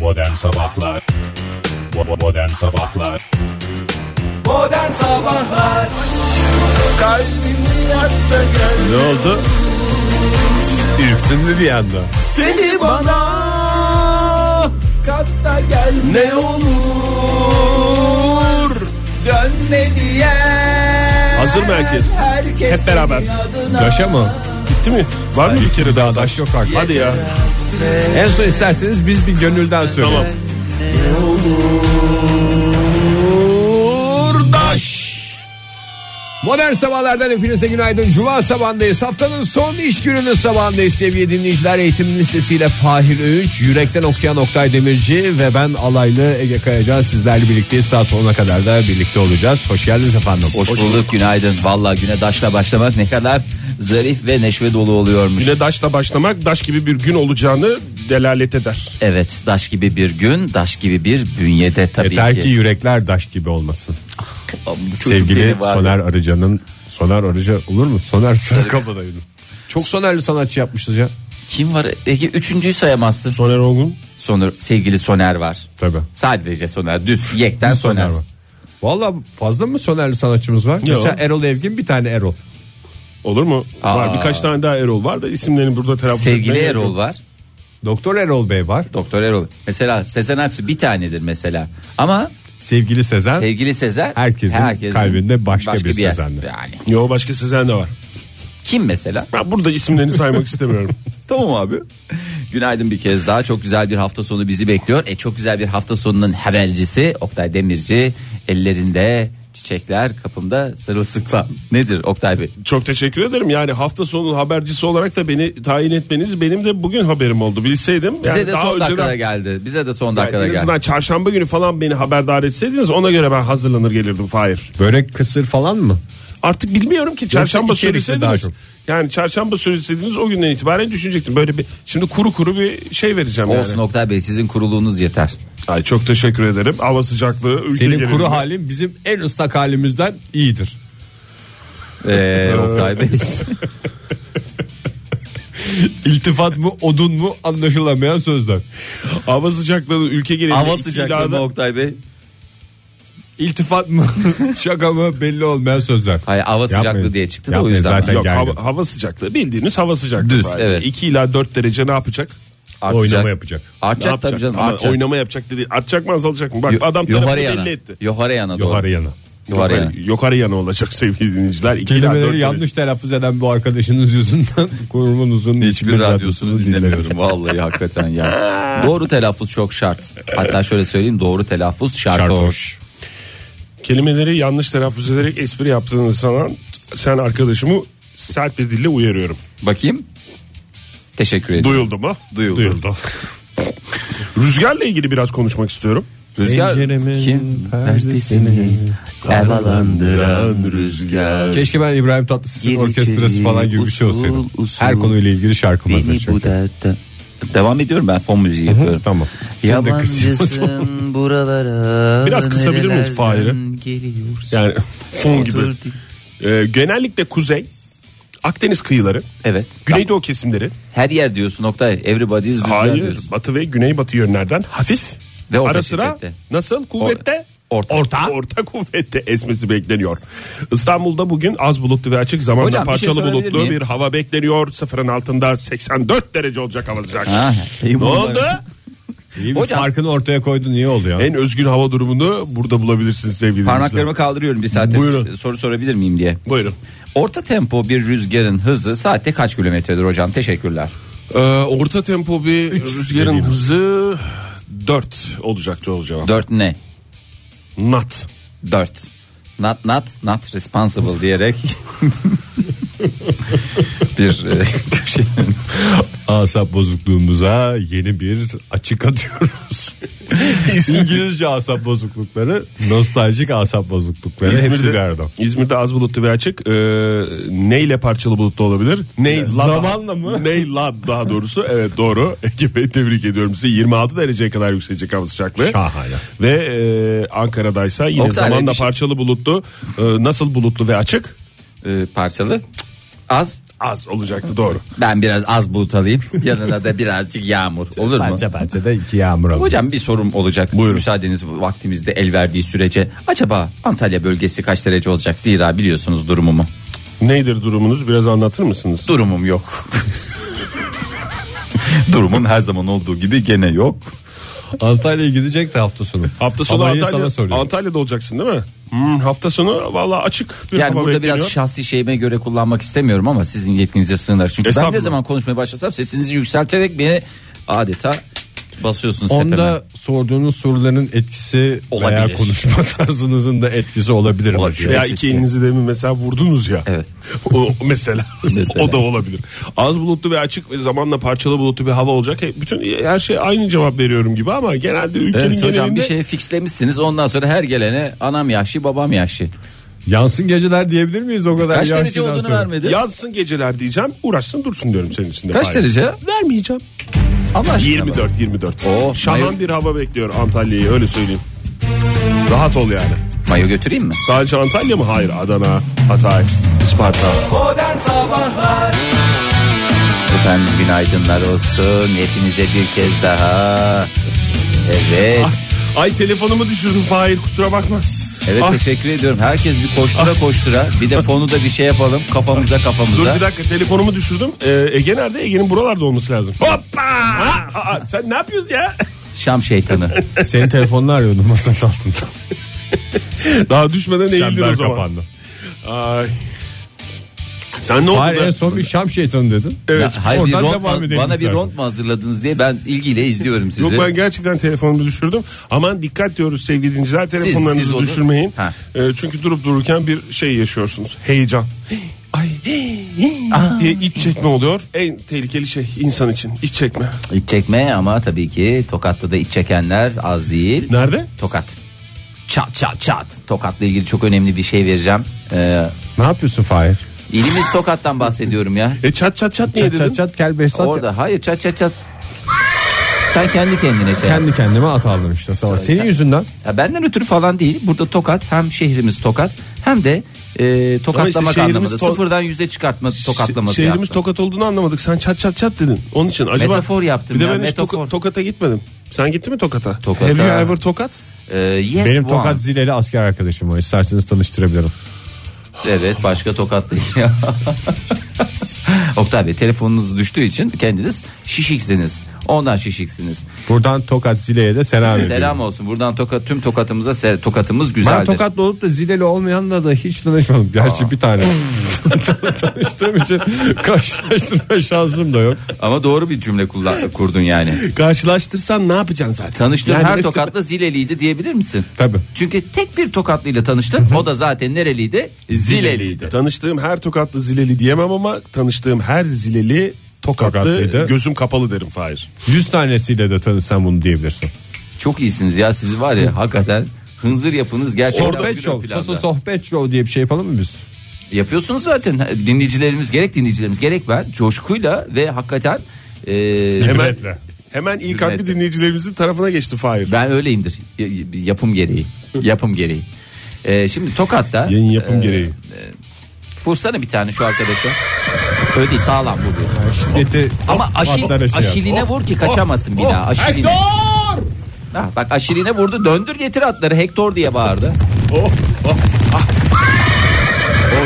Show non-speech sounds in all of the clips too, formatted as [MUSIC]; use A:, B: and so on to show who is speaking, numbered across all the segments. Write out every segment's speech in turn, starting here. A: Modern Sabahlar Bo- Modern Sabahlar
B: Modern Sabahlar Kalbimi yatta gel
C: Ne oldu? Ürktün mü bir anda?
B: Seni bana Katta gel Ne olur Dönme diye
C: Hazır mı herkes?
B: Herkes
C: Hep beraber.
B: senin adına
C: Daşa mı? Gitti mi? Var mı bir kere daha daş yok artık. Hadi ya. En son isterseniz biz bir gönülden söyleyelim. Tamam. Daş. Modern sabahlardan hepinize günaydın. Cuma sabahındayız. Haftanın son iş gününün sabahındayız. Sevgili dinleyiciler eğitim lisesiyle Fahir Öğünç, Yürekten Okuyan Oktay Demirci ve ben alaylı Ege Kayacan sizlerle birlikteyiz. Saat 10'a kadar da birlikte olacağız. Hoş geldiniz efendim.
D: Hoş bulduk günaydın. Valla güne daşla başlamak ne kadar zarif ve neşve dolu oluyormuş.
E: Güne daşla başlamak daş gibi bir gün olacağını delalet eder.
D: Evet daş gibi bir gün, daş gibi bir bünyede tabii
C: Yeter E, ki
D: ki.
C: yürekler daş gibi olmasın.
D: Aa, bu çocuk
C: Sevgili
D: beni var.
C: Soner Arıca'nın Soner Arıca olur mu? Soner Sarıkabadayı'nın. Çok Sonerli sanatçı yapmışız ya.
D: Kim var? Ege üçüncüyü sayamazsın.
E: Soner Ongun.
D: Soner, sevgili Soner var.
C: Tabii.
D: Sadece Soner, düz yekten Soner.
C: var. Valla fazla mı Sonerli sanatçımız var? Mesela Erol Evgin bir tane Erol.
E: Olur mu? Var birkaç tane daha Erol var da isimlerini burada telaffuz
D: Sevgili
E: etmeye gerek
D: Erol
E: yok.
D: var.
C: Doktor Erol Bey var.
D: Doktor Erol. Mesela Sezen Aksu bir tanedir mesela. Ama
C: Sevgili Sezen.
D: sevgili Sezen
C: Herkesin kalbinde başka bir
D: yer.
C: Sezen'dir.
D: Yani.
E: Yo başka Sezen de var.
D: Kim mesela?
E: Ben burada isimlerini saymak [LAUGHS] istemiyorum.
D: Tamam abi. Günaydın bir kez daha. Çok güzel bir hafta sonu bizi bekliyor. E çok güzel bir hafta sonunun habercisi Oktay Demirci ellerinde çiçekler kapımda sarılsıklam. Nedir Oktay Bey?
E: Çok teşekkür ederim. Yani hafta sonu habercisi olarak da beni tayin etmeniz benim de bugün haberim oldu. Bilseydim.
D: Bize
E: yani
D: de
E: daha
D: son
E: önceden-
D: dakikada geldi. Bize de son
E: Yani
D: dakikada
E: en
D: geldi.
E: azından çarşamba günü falan beni haberdar etseydiniz ona göre ben hazırlanır gelirdim Fahir.
C: Börek kısır falan mı?
E: Artık bilmiyorum ki çarşamba
C: içerikli daha
E: söyleseydiniz.
C: çok.
E: Yani çarşamba söyleseydiniz o günden itibaren düşünecektim. Böyle bir şimdi kuru kuru bir şey vereceğim
D: Olsun
E: yani.
D: Oktay Bey sizin kuruluğunuz yeter.
E: Ay çok teşekkür ederim. Hava sıcaklığı ülke
C: Senin
E: genelinde-
C: kuru halin bizim en ıslak halimizden iyidir.
D: Ee, Oktay Bey.
C: İltifat mı odun mu anlaşılamayan sözler.
E: hava sıcaklığı ülke genelinde
D: [LAUGHS] Hava
E: iki
D: sıcaklığı mı
E: ilada-
D: Oktay Bey?
C: İltifat mı [LAUGHS] şaka mı belli olmayan sözler.
D: Hayır hava sıcaklığı diye çıktı da o
C: Yapmayın
D: yüzden.
C: zaten.
E: Yok
C: Geldim.
E: hava, hava sıcaklığı bildiğiniz hava sıcaklığı.
D: Düz,
E: Fahir.
D: evet.
E: 2 ila 4 derece ne yapacak?
D: Artacak.
C: Oynama yapacak.
E: ne
D: Artacak
E: yapacak?
D: tabii canım
E: Ama
D: artacak.
E: Oynama yapacak dedi. Artacak mı azalacak mı? Bak
D: Yo-
E: adam
D: yukarı
E: tarafını
D: yana.
E: belli etti.
D: Yukarı yana doğru.
C: Yukarı yana.
D: Yukarı yana.
E: Yukarı yana olacak sevgili dinleyiciler. İki ila dört
C: Kelimeleri
E: derece.
C: yanlış telaffuz eden bu arkadaşınız yüzünden [LAUGHS] kurumunuzun
D: Hiçbir radyosunu dinlemiyorum vallahi
E: [LAUGHS]
D: hakikaten ya. Doğru telaffuz çok şart. Hatta şöyle söyleyeyim doğru telaffuz şartoş.
E: Kelimeleri yanlış telaffuz ederek espri yaptığını sanan sen arkadaşımı sert bir dille uyarıyorum.
D: Bakayım. Teşekkür ederim.
E: Duyuldu mu?
D: Duyuldu.
E: Rüzgarla ilgili biraz konuşmak istiyorum.
D: Rüzgar
C: Penceremin
D: kim
C: perdesini
D: perdesini havalandıran rüzgar.
C: Keşke ben İbrahim Tatlıses'in
D: Gir
C: orkestrası
D: içeri,
C: falan gibi bir şey
D: usul,
C: olsaydım.
D: usul.
C: Her konuyla ilgili şarkım hazır
D: Beni bu
C: çünkü.
D: dertte. Devam ediyorum ben fon müziği yapıyorum.
C: Tamam. Sen de kısıyorsun.
E: [LAUGHS]
D: Yabancısın buralara.
E: Biraz kısabilir miyiz
D: nerelerden
E: Fahir'i?
D: geliyorsun?
E: Yani fon gibi.
D: Otur di-
E: Ee, genellikle kuzey, Akdeniz kıyıları,
D: Evet.
E: güneydoğu kesimleri,
D: Her yer diyorsun Oktay. Everybody's rüzgar
E: hayır,
D: diyorsun.
E: batı ve güneybatı yönlerden hafif
D: Ve orta
E: ara sıra
D: şiddette.
E: nasıl kuvvette?
D: orta.
E: orta. Orta kuvvette esmesi bekleniyor. İstanbul'da bugün az bulutlu ve açık zamanla
D: Hocam, bir şey
E: parçalı
D: sorabilir
E: bulutlu
D: miyim?
E: bir hava bekleniyor. Sıfırın altında 84 derece olacak hava sıcaklığı.
D: Ha, iyi
E: ne
D: bunlar.
E: oldu?
C: İyi bir
D: Hocam-
C: farkını ortaya koydun iyi oldu ya.
E: En özgün hava durumunu burada bulabilirsiniz sevgili
D: Parmaklarımı kaldırıyorum bir saattir Ee,
E: Buyurun.
D: soru sorabilir miyim diye.
E: dinleyiciler. Buyurun.
D: Orta tempo bir rüzgarın hızı saatte kaç kilometredir hocam? Teşekkürler.
E: Ee, orta tempo bir rüzgarın hızı 4 olacaktı o cevap.
D: 4 ne?
E: Nat.
D: 4. Not not not responsible diyerek [LAUGHS] bir e, [LAUGHS] köşenin
C: Asap bozukluğumuza yeni bir açık atıyoruz. İngilizce asap bozuklukları, nostaljik asap bozuklukları hepsi bir arada.
E: İzmir'de az bulutlu ve açık. Ee, neyle parçalı bulutlu olabilir? Ney [LAUGHS]
C: Zamanla mı?
E: Neyla daha doğrusu. Evet doğru. [LAUGHS] Ege Bey tebrik ediyorum sizi. 26 dereceye kadar yükselecek hava sıcaklığı.
C: Şahane.
E: Ve e, Ankara'daysa yine
D: Oktay Bey,
E: zamanla Ee,
D: bir şey-
E: parçalı bulutlu. e, nasıl bulutlu ve açık?
D: e, parçalı Az.
E: Az olacaktı doğru.
D: Ben biraz az bulut alayım. Yanına da birazcık yağmur. Olur mu?
C: Parça parça da iki yağmur alın.
D: Hocam bir sorum olacak. Müsaadeniz vaktimizde el verdiği sürece. Acaba Antalya bölgesi kaç derece olacak? Zira biliyorsunuz durumumu.
E: Neydir durumunuz biraz anlatır mısınız?
D: Durumum yok. Durumun her zaman olduğu gibi gene yok.
C: Antalya'ya gidecek de hafta sonu.
E: Hafta sonu
C: Havayı
E: Antalya,
C: sana soruyorum.
E: Antalya'da olacaksın değil mi? Hmm, hafta sonu valla açık bir
D: Yani
E: hava
D: burada
E: bekleniyor.
D: biraz şahsi şeyime göre kullanmak istemiyorum ama sizin yetkinize sığınar. Çünkü ben ne
E: Estağfurullah.
D: zaman konuşmaya başlasam sesinizi yükselterek beni adeta basıyorsunuz tepeme.
C: Onda sorduğunuz soruların etkisi veya
D: Olabilir.
C: konuşma [LAUGHS] tarzınızın da etkisi olabilir. ama
D: Olabilir.
C: diyor.
E: Veya iki elinizi demin mesela vurdunuz ya.
D: Evet.
E: O, mesela,
D: [LAUGHS] Mesela.
E: o da olabilir. Az bulutlu ve açık ve zamanla parçalı bulutlu bir hava olacak. He, Bütün her şey aynı cevap veriyorum gibi ama genelde ülkenin
D: Evet, hocam
E: genelinde
D: bir şey şeye fixlemişsiniz ondan sonra her gelene anam yaşlı babam yaşlı.
C: Yansın geceler diyebilir miyiz o kadar
D: Kaç derece
C: yaşlıdan
D: olduğunu
C: sonra?
D: vermedi.
E: yazsın geceler diyeceğim. Uğraşsın dursun diyorum senin için de.
D: Kaç
E: Hayır.
D: derece?
E: Vermeyeceğim.
D: Allah aşkına
E: 24 24.
D: Oo,
E: Şahan
D: mayo-
E: bir hava bekliyor Antalya'yı öyle söyleyeyim. Rahat ol yani.
D: bak. Mayo götüreyim mi?
E: Sadece Antalya mı? Hayır. Adana, Hatay, Isparta.
F: Modern Sabahlar
D: Efendim günaydınlar olsun. Hepinize bir kez daha. Evet.
E: Ah, Ay telefonumu düşürdüm Fahir kusura bakma.
D: Evet
E: Ah,
D: teşekkür ediyorum. Herkes bir koştura koştura. Bir de fonu da bir şey yapalım. Kafamıza
E: Ah. Dur
D: kafamıza.
E: bir dakika telefonumu düşürdüm. Ee, Ege nerede? Ege'nin buralarda olması lazım. Hoppa! Aa, aa, sen ne yapıyorsun ya? [LAUGHS]
D: Şam şeytanı.
C: Senin telefonunu arıyordum masanın [LAUGHS] altında.
E: Daha düşmeden eğildin
C: Çember
E: o zaman.
C: kapandı.
E: Ay. Sen ne oldu?
C: Hayır
E: be?
C: en son bir Şam şeytanı dedin.
E: [LAUGHS] Evet.
D: Ya, hayır, bir
C: oradan
D: rond
C: devam
D: mu-
C: edelim
D: bana bir
C: istersen.
D: rond mu hazırladınız diye ben
E: [LAUGHS]
D: ilgiyle izliyorum sizi.
E: Yok ben gerçekten telefonumu düşürdüm. Aman dikkat diyoruz sevgili dinciler telefonlarınızı
D: siz onu-
E: düşürmeyin.
D: Ha.
E: Ee, çünkü durup dururken bir şey yaşıyorsunuz. Heyecan. Ay diye iç çekme oluyor. En tehlikeli şey insan için iç çekme.
D: İç çekme ama tabii ki Tokat'ta da iç çekenler az değil.
E: Nerede?
D: Tokat. Çat çat çat. Tokat'la ilgili çok önemli bir şey vereceğim. Ee,
C: Ne yapıyorsun Fahir?
D: ilimiz Tokat'tan bahsediyorum ya.
E: E çat çat çat niye
C: Çat
E: dedim?
C: çat çat kel Behzat.
D: Orada hayır çat çat çat. Sen kendi kendine şey. yap.
C: Kendi kendime at aldım işte. Sana. Senin yüzünden.
D: Ya benden ötürü falan değil. Burada Tokat hem şehrimiz Tokat hem de e, tokatlamak
E: şehrimiz
D: anlamında.
E: to-
D: Sıfırdan yüze çıkartma tokatlaması
E: Şehrimiz
D: yaptım.
E: tokat olduğunu anlamadık. Sen çat çat çat dedin. Onun için acaba
D: Metafor yaptım
E: Bir de
D: ya,
E: ben hiç
D: metafor.
E: toka- tokata gitmedim. Sen gittin mi tokata?
D: Tokata.
E: Have you ever tokat?
D: Ee, yes
C: Benim
D: once.
C: tokat zileli asker arkadaşım o. İsterseniz tanıştırabilirim.
D: Evet başka tokatlı. [LAUGHS] Oktay Bey telefonunuz düştüğü için kendiniz şişiksiniz. Ondan şişiksiniz.
C: Buradan tokat zileye de selam ediyorum.
D: Selam olsun. Buradan tokat tüm tokatımıza se- tokatımız güzeldir.
C: Ben tokatlı olup da zileli olmayanla da hiç tanışmadım. Gerçi
D: [LAUGHS]
C: bir tane [LAUGHS] tanıştığım için karşılaştırma şansım da yok.
D: Ama doğru bir cümle kullan- kurdun yani.
E: Karşılaştırsan ne yapacaksın zaten?
D: Tanıştığın
E: Yani
D: her
E: mesela-
D: tokatlı zileliydi diyebilir misin?
C: Tabii.
D: Çünkü tek bir tokatlıyla tanıştın. o da zaten nereliydi? Zileliydi.
E: Tanıştığım her tokatlı zileli diyemem ama tanıştığım her zileli tokatlı
C: Tokatlıydı.
E: gözüm kapalı derim Fahir.
C: 100 tanesiyle de tanışsan bunu diyebilirsin.
D: Çok iyisiniz ya sizi var ya hakikaten hınzır yapınız gerçekten.
C: Sohbet
D: ön
C: show.
D: planda.
C: Soso sohbet show diye bir şey yapalım mı biz?
D: Yapıyorsunuz zaten dinleyicilerimiz gerek dinleyicilerimiz gerek ben coşkuyla ve hakikaten e,
E: Hemen,
C: Hibretle.
E: hemen ilk an bir
D: Hibretle.
E: dinleyicilerimizin tarafına geçti Fahir.
D: ben öyleyimdir Y- y- yapım gereği yapım gereği. E, şimdi Tokat'ta
E: Yayın yapım
D: Ee,
E: gereği.
D: vursana bir tane şu arkadaşa. Öyle değil sağlam vuruyor.
C: Şiddeti
D: Ama aşil,
C: patlar eşeği.
D: aşiline vur ki kaçamasın bir daha. Aşiline. Ha, bak aşiline vurdu döndür getir atları Hector diye bağırdı.
E: Oh,
D: Ah.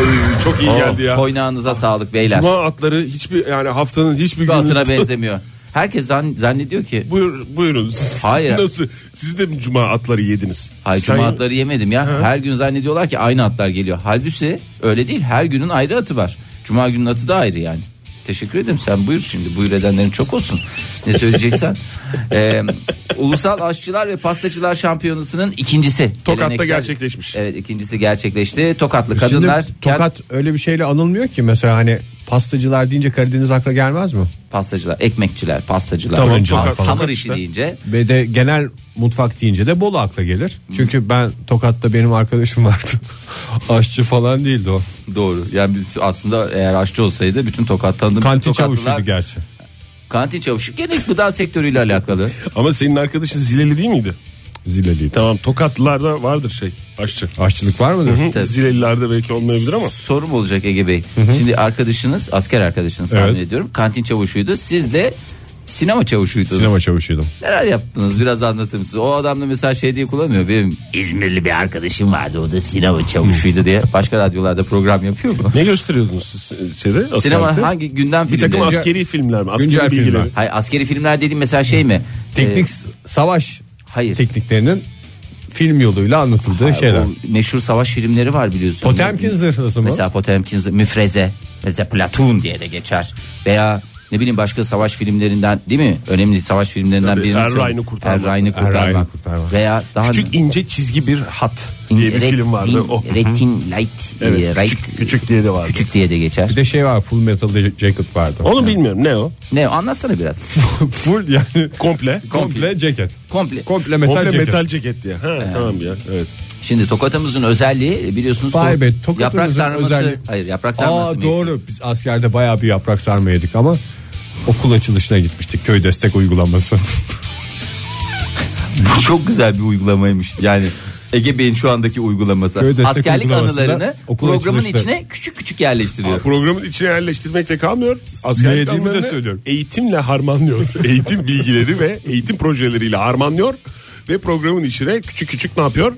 E: Oy, çok
D: Oh,
E: iyi geldi ya.
D: Koynağınıza sağlık beyler.
E: Cuma atları hiçbir yani haftanın hiçbir günü.
D: Bu atına benzemiyor. Herkes zan- zannediyor ki
E: Buyur, buyurun. Siz-
D: Hayır.
E: [LAUGHS] Nasıl? Siz de mi cuma atları yediniz?
D: Hayır
E: Sen-
D: cuma atları yemedim ya. Her gün zannediyorlar ki aynı atlar geliyor. Halbuki öyle değil. Her günün ayrı atı var. Cuma günün atı da ayrı yani. Teşekkür ederim. Sen buyur şimdi. Buyur edenlerin çok olsun.
E: [LAUGHS]
D: Ne söyleyeceksen. Ee, Ulusal Aşçılar ve Pastacılar Şampiyonası'nın ikincisi.
E: Tokat'ta
D: Geleneksel-
E: gerçekleşmiş.
D: Evet ikincisi gerçekleşti. Tokatlı
C: Şimdi
D: kadınlar kent
C: tokat öyle bir şeyle anılmıyor ki mesela hani pastacılar deyince Karadeniz akla gelmez mi?
D: pastacılar, ekmekçiler, pastacılar,
E: Tamam,
D: ham-
E: Tokat-
D: hamur
E: Tokat
D: işi
E: işte.
D: deyince
C: Ve de genel mutfak deyince de Bolu akla gelir. Çünkü ben Tokat'ta benim arkadaşım vardı. [LAUGHS] Aşçı falan değildi o.
D: doğru. Yani bütün- aslında eğer aşçı olsaydı bütün tokat tanıdığım bütün
C: Kantin
D: Tokatlılar-
C: çavuşuydu gerçi.
D: Kantin çavuşu. Gene gıda sektörüyle alakalı.
E: Ama senin arkadaşın zileli değil miydi?
C: Zileli.
E: Tamam Tokatlılarda vardır şey aşçı.
C: Aşçılık var mıdır?
E: Hı,
D: Tabii.
E: Zilelilerde belki olmayabilir ama.
D: Sorum olacak Ege Bey. Şimdi arkadaşınız asker arkadaşınız tahmin
C: Evet.
D: ediyorum. Kantin çavuşuydu. Siz de sinema çavuşuydunuz.
C: Sinema çavuşuydum.
D: Neler yaptınız biraz anlatır mısınız? O adam da mesela şey diye kullanmıyor. Benim İzmirli bir arkadaşım vardı o da sinema çavuşuydu diye. Başka radyolarda program yapıyor mu?
E: Ne gösteriyordunuz siz e, şeyde?
D: Sinema
E: askerlikte?
D: hangi gündem
E: Bir
D: filmleri?
E: takım askeri filmler mi? Askeri
C: Güncel
E: bilgileri.
C: filmler.
D: Hayır askeri filmler dediğim mesela şey mi?
C: Teknik
D: Ee,
C: savaş
D: hayır.
C: tekniklerinin film yoluyla anlatıldığı şeyler.
D: O meşhur savaş filmleri var biliyorsun.
C: Potemkin zırhlısı mı?
D: Mesela Potemkin zırh- müfreze. Mesela Platoon diye de geçer. Veya ne bileyim başka savaş filmlerinden değil mi? Önemli savaş filmlerinden
E: Tabii,
D: birini.
E: Er
D: söyle.
E: Ryan'ı kurtarmak.
D: Er Ryan'ı
C: Er Ryan'ı
D: kurtarmak.
C: kurtarmak.
D: Veya daha
E: Küçük ince çizgi bir hat diye bir
D: Red
E: film vardı.
D: Tin-
E: O. [LAUGHS]
D: Red Tin Light.
E: Evet,
D: e,
E: küçük-
D: Right-
E: küçük diye de vardı.
D: Küçük diye de geçer.
C: Bir de şey var Full Metal Jacket vardı.
E: Onu bilmiyorum ne o?
D: Ne anlatsana
E: [LAUGHS]
D: biraz.
C: [LAUGHS] full yani
E: Komple.
C: komple ceket.
D: Komple.
C: Komple metal
E: Komple
C: ceket.
E: metal ceket diye. Ha, Tamam ya evet.
D: Şimdi tokatımızın özelliği biliyorsunuz.
C: Vay
D: to-
C: be, tokatımızın
D: yaprak sarması.
C: özelliği.
D: Hayır yaprak sarması.
C: Aa
D: mı?
C: doğru biz askerde bayağı bir yaprak sarma yedik ama okul açılışına gitmiştik köy destek uygulaması. [LAUGHS]
D: Bu [LAUGHS] çok güzel bir uygulamaymış. Yani Ege Bey'in şu andaki uygulaması.
C: Köy destek
D: Askerlik
C: uygulamasında
D: anılarını
C: okul
D: programın
C: açılışları.
D: içine küçük küçük yerleştiriyor.
E: Programın içine yerleştirmekle kalmıyor.
C: Ne
E: Askerlik
C: yediğimi de
E: anılarını
C: söylüyorum.
E: Eğitimle
C: [LAUGHS]
E: harmanlıyor. eğitim bilgileri ve eğitim projeleriyle harmanlıyor. Ve programın içine küçük küçük ne yapıyor?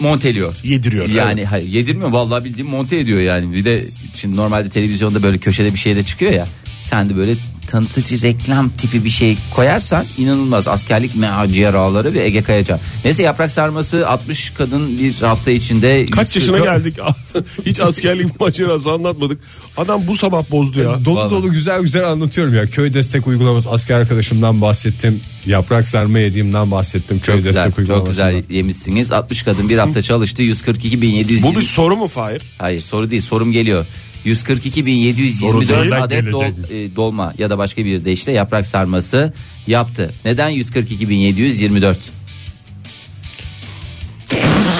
D: monteliyor.
E: Yediriyor,
D: Yani hayır yedirmiyor vallahi bildiğim monte ediyor yani. Bir de şimdi normalde televizyonda böyle köşede bir şey de çıkıyor ya. Sen de böyle tanıtıcı reklam tipi bir şey koyarsan inanılmaz askerlik maceraları ve Ege Kayacan. Neyse yaprak sarması 60 kadın bir hafta içinde
E: Kaç
D: yüz-
E: yaşına geldik? [LAUGHS] Hiç askerlik macerası anlatmadık. Adam bu sabah bozdu ya.
C: dolu
D: Vallahi.
C: dolu güzel güzel anlatıyorum ya. Köy destek uygulaması asker arkadaşımdan bahsettim. Yaprak sarma yediğimden bahsettim. Köy
D: Çok güzel,
C: destek
D: çok
C: uygulamasından.
D: güzel yemişsiniz. 60 kadın bir hafta çalıştı. 142.720.
E: Bu bir soru mu Fahir?
D: Hayır soru değil sorum geliyor.
E: Soru
D: 142.724
E: değil,
D: adet dol-
E: gelecekmiş.
D: e, dolma ya da başka bir de işte yaprak sarması yaptı. Neden 142.724?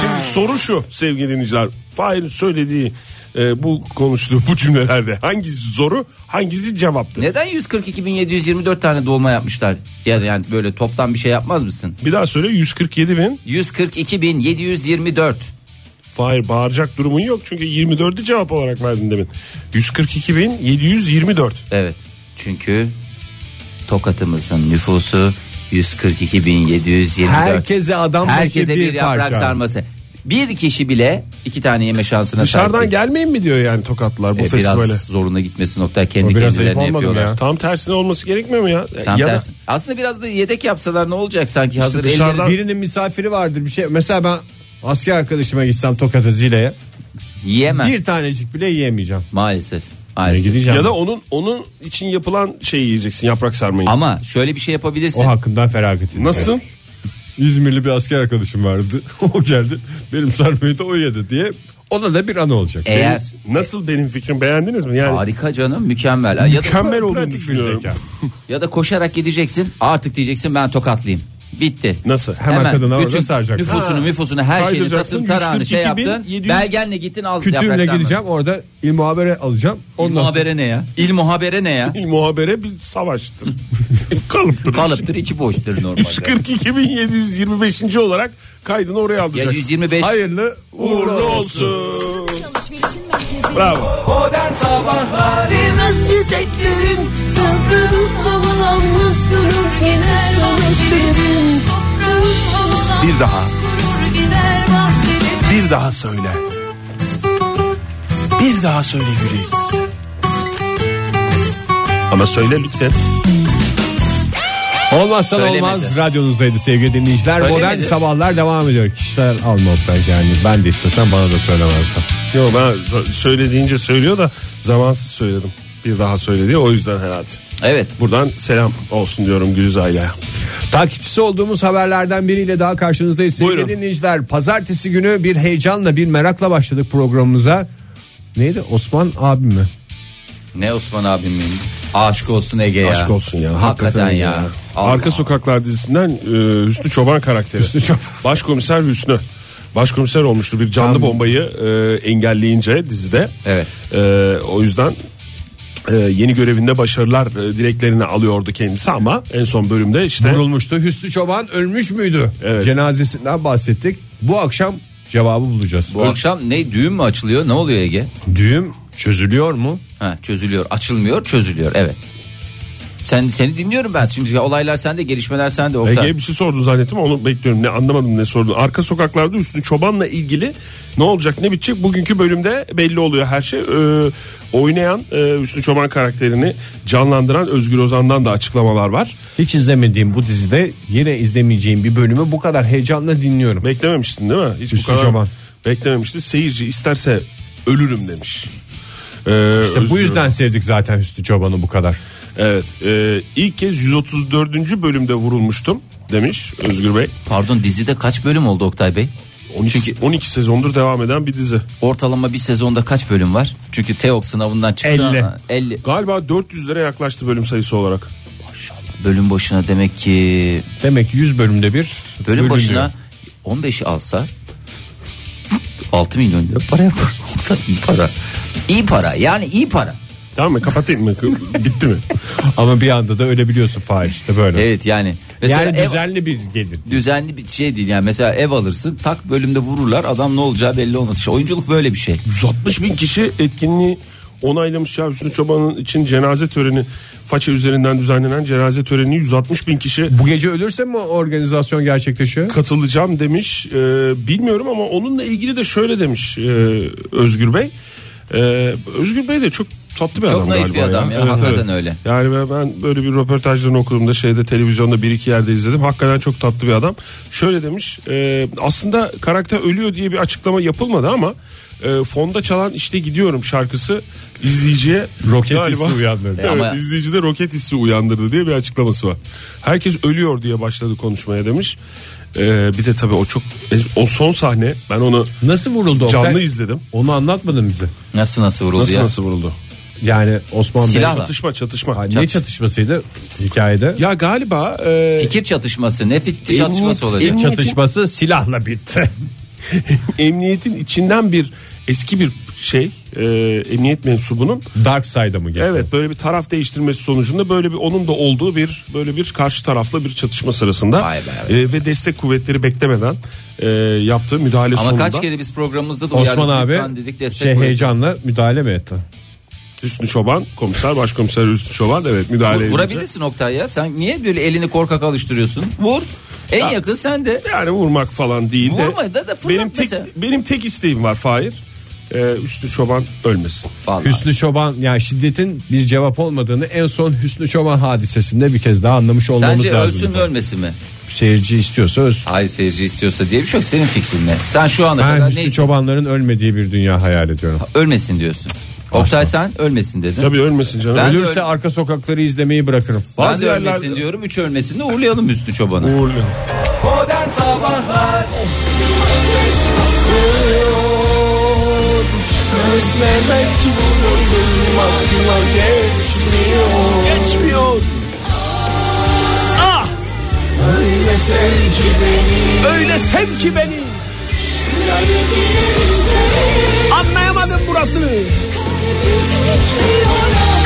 E: Şimdi soru şu sevgili dinleyiciler. Fahir'in söylediği e, bu konuştuğu bu cümlelerde hangisi soru hangisi cevaptı?
D: Neden 142.724 tane dolma yapmışlar? Ya da yani böyle toptan bir şey yapmaz mısın?
E: Bir daha söyle 147 bin.
D: 142.724.
E: Fahir bağıracak durumun yok çünkü 24'ü cevap olarak verdin demin. 142 bin 724.
D: Evet. Çünkü Tokat'ımızın nüfusu 142.724.
C: Herkese adam başı
D: Herkese bir, yaprak
C: parça.
D: sarması. Bir kişi bile iki tane yeme şansına
E: Dışarıdan
D: sahip.
E: gelmeyin mi diyor yani tokatlar bu
D: E,
E: festivale.
D: Biraz zoruna gitmesi nokta kendi
C: O biraz ayıp
D: kendilerine
C: olmadı mı
D: yapıyorlar.
C: ya?
E: Tam tersine olması gerekmiyor mu ya?
D: Tam
E: ya da-
D: tersi. Aslında biraz da yedek yapsalar ne olacak sanki hazır
E: dışarıdan-
D: elleri
C: Birinin misafiri vardır bir şey. Mesela ben asker arkadaşıma gitsem Tokat'a Zile'ye
D: yiyemem.
C: bir tanecik bile yiyemeyeceğim.
D: Maalesef.
C: Ben
D: Maalesef.
C: gideceğim.
E: ya da onun onun için yapılan şeyi yiyeceksin yaprak sarmayı.
D: Ama şöyle bir şey yapabilirsin.
C: o hakkından feragat edeyim.
E: Nasıl?
C: İzmirli bir asker arkadaşım vardı. [LAUGHS] o geldi. Benim sarmayı da o yedi diye. Ona da bir anı olacak.
D: Eğer
E: Nasıl benim fikrim beğendiniz mi? Yani
D: harika canım mükemmel. Ya da,
E: mükemmel olduğunu
C: Pratik bir
E: düşünüyorum.
C: zeka.
D: ya da koşarak gideceksin. Artık diyeceksin ben tokatlıyım. Bitti.
E: Nasıl?
C: Hemen kadına orada
D: bütün
C: saracak.
D: Nüfusunu, nüfusunu her şeyini
E: Saydıracaksın.
D: tasın tarağını şey
E: 142.700
D: yaptın. Belgenle gittin al yaprak
C: Kütüğümle
D: sarma.
C: gideceğim orada il muhabere alacağım.
D: İl
C: Ondan sonra
D: muhabere ne ya? İl muhabere ne
C: [LAUGHS]
D: ya?
E: Bir muhabere bir
D: [LAUGHS]
E: savaştır. [LAUGHS] Kalıptır.
D: Kalıptır içi boştur normalde.
E: 142.725. olarak kaydını oraya
D: Ya
E: alacaksın.
D: 125
C: hayırlı uğurlu
E: Uğurlu
C: olsun.
E: olsun.
G: Alışverişin merkezi.
E: Bravo.
H: Modern Sabahlar
G: Bilmez çiçeklerin toprağım havalanmaz gurur gider bahçelerin toprağım havalanmaz
E: Bir daha.
G: gurur gider bahçelerin
E: Bir daha söyle. Bir daha söyle Güliz. Ama söyle lütfen.
C: Olmazsa da
D: Söylemedi.
C: olmaz radyonuzdaydı sevgili dinleyiciler.
D: Söylemedi.
C: Modern sabahlar devam ediyor. Kişiler alma belki yani. Ben de istesem bana da söylemezdi.
E: Yo ben z- söyle deyince söylüyor da zamansız söyledim. Bir daha söyle diye o yüzden herhalde.
D: Evet.
E: Buradan selam olsun diyorum Güliz aileye.
C: Takipçisi olduğumuz haberlerden biriyle daha karşınızdayız sevgili
E: Buyurun.
C: dinleyiciler. Pazartesi günü bir heyecanla bir merakla başladık programımıza. Neydi Osman abim mi?
D: Ne Osman abimin? Aşk olsun Ege ya.
E: Aşk olsun ya.
D: Hakikaten ya. Allah.
E: Arka Sokaklar dizisinden e, Hüsnü Çoban karakteri.
C: Hüsnü Çoban.
E: [LAUGHS] Başkomiser Hüsnü. Başkomiser olmuştu bir canlı bombayı e, engelleyince dizide.
D: Evet.
E: E, o yüzden e, yeni görevinde başarılar e, dileklerini alıyordu kendisi ama en son bölümde işte
C: Vurulmuştu. Hüsnü Çoban ölmüş müydü?
E: Evet.
C: Cenazesinden bahsettik. Bu akşam cevabı bulacağız.
D: Bu akşam ne düğün mü açılıyor? Ne oluyor Ege?
C: Düğüm çözülüyor mu?
D: Ha, çözülüyor, açılmıyor, çözülüyor. Evet. Sen seni dinliyorum ben. Şimdi ya olaylar sende, gelişmeler sende Oktay.
E: Ege bir şey sordu zannettim onu bekliyorum ne anlamadım ne sordu. Arka sokaklarda üstünü çobanla ilgili ne olacak ne bitecek bugünkü bölümde belli oluyor her şey. Ee, oynayan e, Üstü Çoban karakterini canlandıran Özgür Ozan'dan da açıklamalar var.
C: Hiç izlemediğim bu dizide yine izlemeyeceğim bir bölümü bu kadar heyecanla dinliyorum.
E: Beklememiştin değil mi? Hiç
C: Hüsnü Çoban.
E: Beklememişti. Seyirci isterse ölürüm demiş. Ee,
C: İşte bu
E: Özgür
C: yüzden sevdik zaten Hüsnü Çoban'ı bu kadar.
E: Evet. e, ilk kez 134. bölümde vurulmuştum demiş Özgür Bey.
D: Pardon dizide kaç bölüm oldu Oktay Bey?
E: 12,
D: Çünkü
E: 12 sezondur devam eden bir dizi.
D: ortalama bir sezonda kaç bölüm var? Çünkü TEOK sınavından çıktı. 50. 50
E: Galiba 400'lere yaklaştı bölüm sayısı olarak.
D: bölüm başına demek ki
C: Demek ki 100 bölümde bir
D: bölüm
C: bölünüyor.
D: başına 15'i alsa 6 milyon lira para yapar. [LAUGHS] Oktay, iyi para. İyi para yani iyi para.
E: Tamam mı? Kapatayım mı? [LAUGHS] Bitti mi?
C: Ama bir anda da ölebiliyorsun Fahir işte böyle.
D: Evet yani.
C: yani
D: ev-
C: düzenli bir gelir.
D: düzenli bir şey değil yani mesela ev alırsın tak bölümde vururlar adam ne olacağı belli olmaz. İşte oyunculuk böyle bir şey.
E: 160 bin kişi etkinliği onaylamış ya Hüsnü Çoban'ın için cenaze töreni faça üzerinden düzenlenen cenaze töreni 160 bin kişi
C: Bu gece ölürse mi organizasyon gerçekleşiyor?
E: katılacağım demiş. Ee, bilmiyorum ama onunla ilgili de şöyle demiş e, Özgür Bey. Ee, Özgür Bey de çok tatlı bir
D: Çok
E: adam
D: naif
E: galiba.
D: bir adam ya, hakikaten öyle.
E: Yani ben, ben böyle bir röportajlarını okuduğumda şeyde televizyonda bir iki yerde izledim. Hakikaten çok tatlı bir adam. Şöyle demiş. e, aslında karakter ölüyor diye bir açıklama yapılmadı ama e, fonda çalan işte gidiyorum şarkısı izleyiciye
C: Roket
E: galiba-
C: hissi uyandırdı.
E: Evet,
D: Ama-
E: izleyicide roket hissi uyandırdı diye bir açıklaması var. Herkes ölüyor diye başladı konuşmaya demiş. Ee, bir de tabii o çok o son sahne ben onu
C: Nasıl vuruldu Oktay?
E: canlı izledim.
C: Onu anlatmadın bize.
D: Nasıl nasıl vuruldu
E: Nasıl
D: ya?
E: nasıl vuruldu?
C: Yani Osman
D: Silah-
C: Bey...
E: Çatışma çatışma.
C: Ay, Ne çatışmasıydı hikayede?
E: Ya galiba e,
D: Fikir çatışması ne fikir çatışması olacak?
E: Emniyet-
C: Çatışması silahla bitti.
E: [LAUGHS] emniyetin içinden bir eski bir şey e, emniyet mensubunun
C: [LAUGHS] Dark Side'a mı geçti?
E: evet böyle bir taraf değiştirmesi sonucunda böyle bir onun da olduğu bir böyle bir karşı tarafla bir çatışma sırasında
D: Vay be.
E: e, ve destek kuvvetleri beklemeden e, yaptığı müdahale
D: Ama
E: sonunda
D: kaç kere biz programımızda da
C: Osman
D: uyardık,
C: abi
D: lütfen dedik destek
C: şey
D: buyurun.
C: heyecanla müdahale mi etti?
E: Hüsnü Çoban komiser başkomiser Hüsnü Çoban evet müdahale
D: Vur-
E: edince.
D: Vurabilirsin Oktay ya. Sen niye böyle elini korkak alıştırıyorsun? Vur. En yakın sen de.
E: Yani vurmak falan değil de.
D: Vurma da- da fırlat
E: benim tek,
D: mesela.
E: benim tek isteğim var Fahir. Ee, Hüsnü Çoban ölmesin.
D: Vallahi.
C: Hüsnü Çoban yani şiddetin bir cevap olmadığını en son Hüsnü Çoban hadisesinde bir kez daha anlamış olmamız
D: Sence
C: lazım.
D: ölsün mü ölmesin mi?
C: Seyirci istiyorsa ölsün.
D: Hayır seyirci istiyorsa diye bir şey yok. Senin fikrin ne? Sen şu ana
C: Ben şey-
D: kadar
C: Hüsnü
D: neyse
C: Çobanların ölmediği bir dünya hayal ediyorum.
D: ölmesin diyorsun. Oktay sen ölmesin dedin.
E: Tabii ölmesin canım.
D: Ben-
E: Ben...
C: Ölürse
D: öyle-
C: arka sokakları izlemeyi bırakırım.
D: Ben
E: Bazı
D: de ölmesin
E: yerlerde-
D: diyorum. Üç ölmesin de uğurlayalım Hüsnü Çoban'ı.
I: Modern Sabahlar
J: Özlemek
I: Dokunmak yıla geçmiyor Geçmiyor Öyle sev ki beni
G: Öyle sev ki beni anlayamadım burasını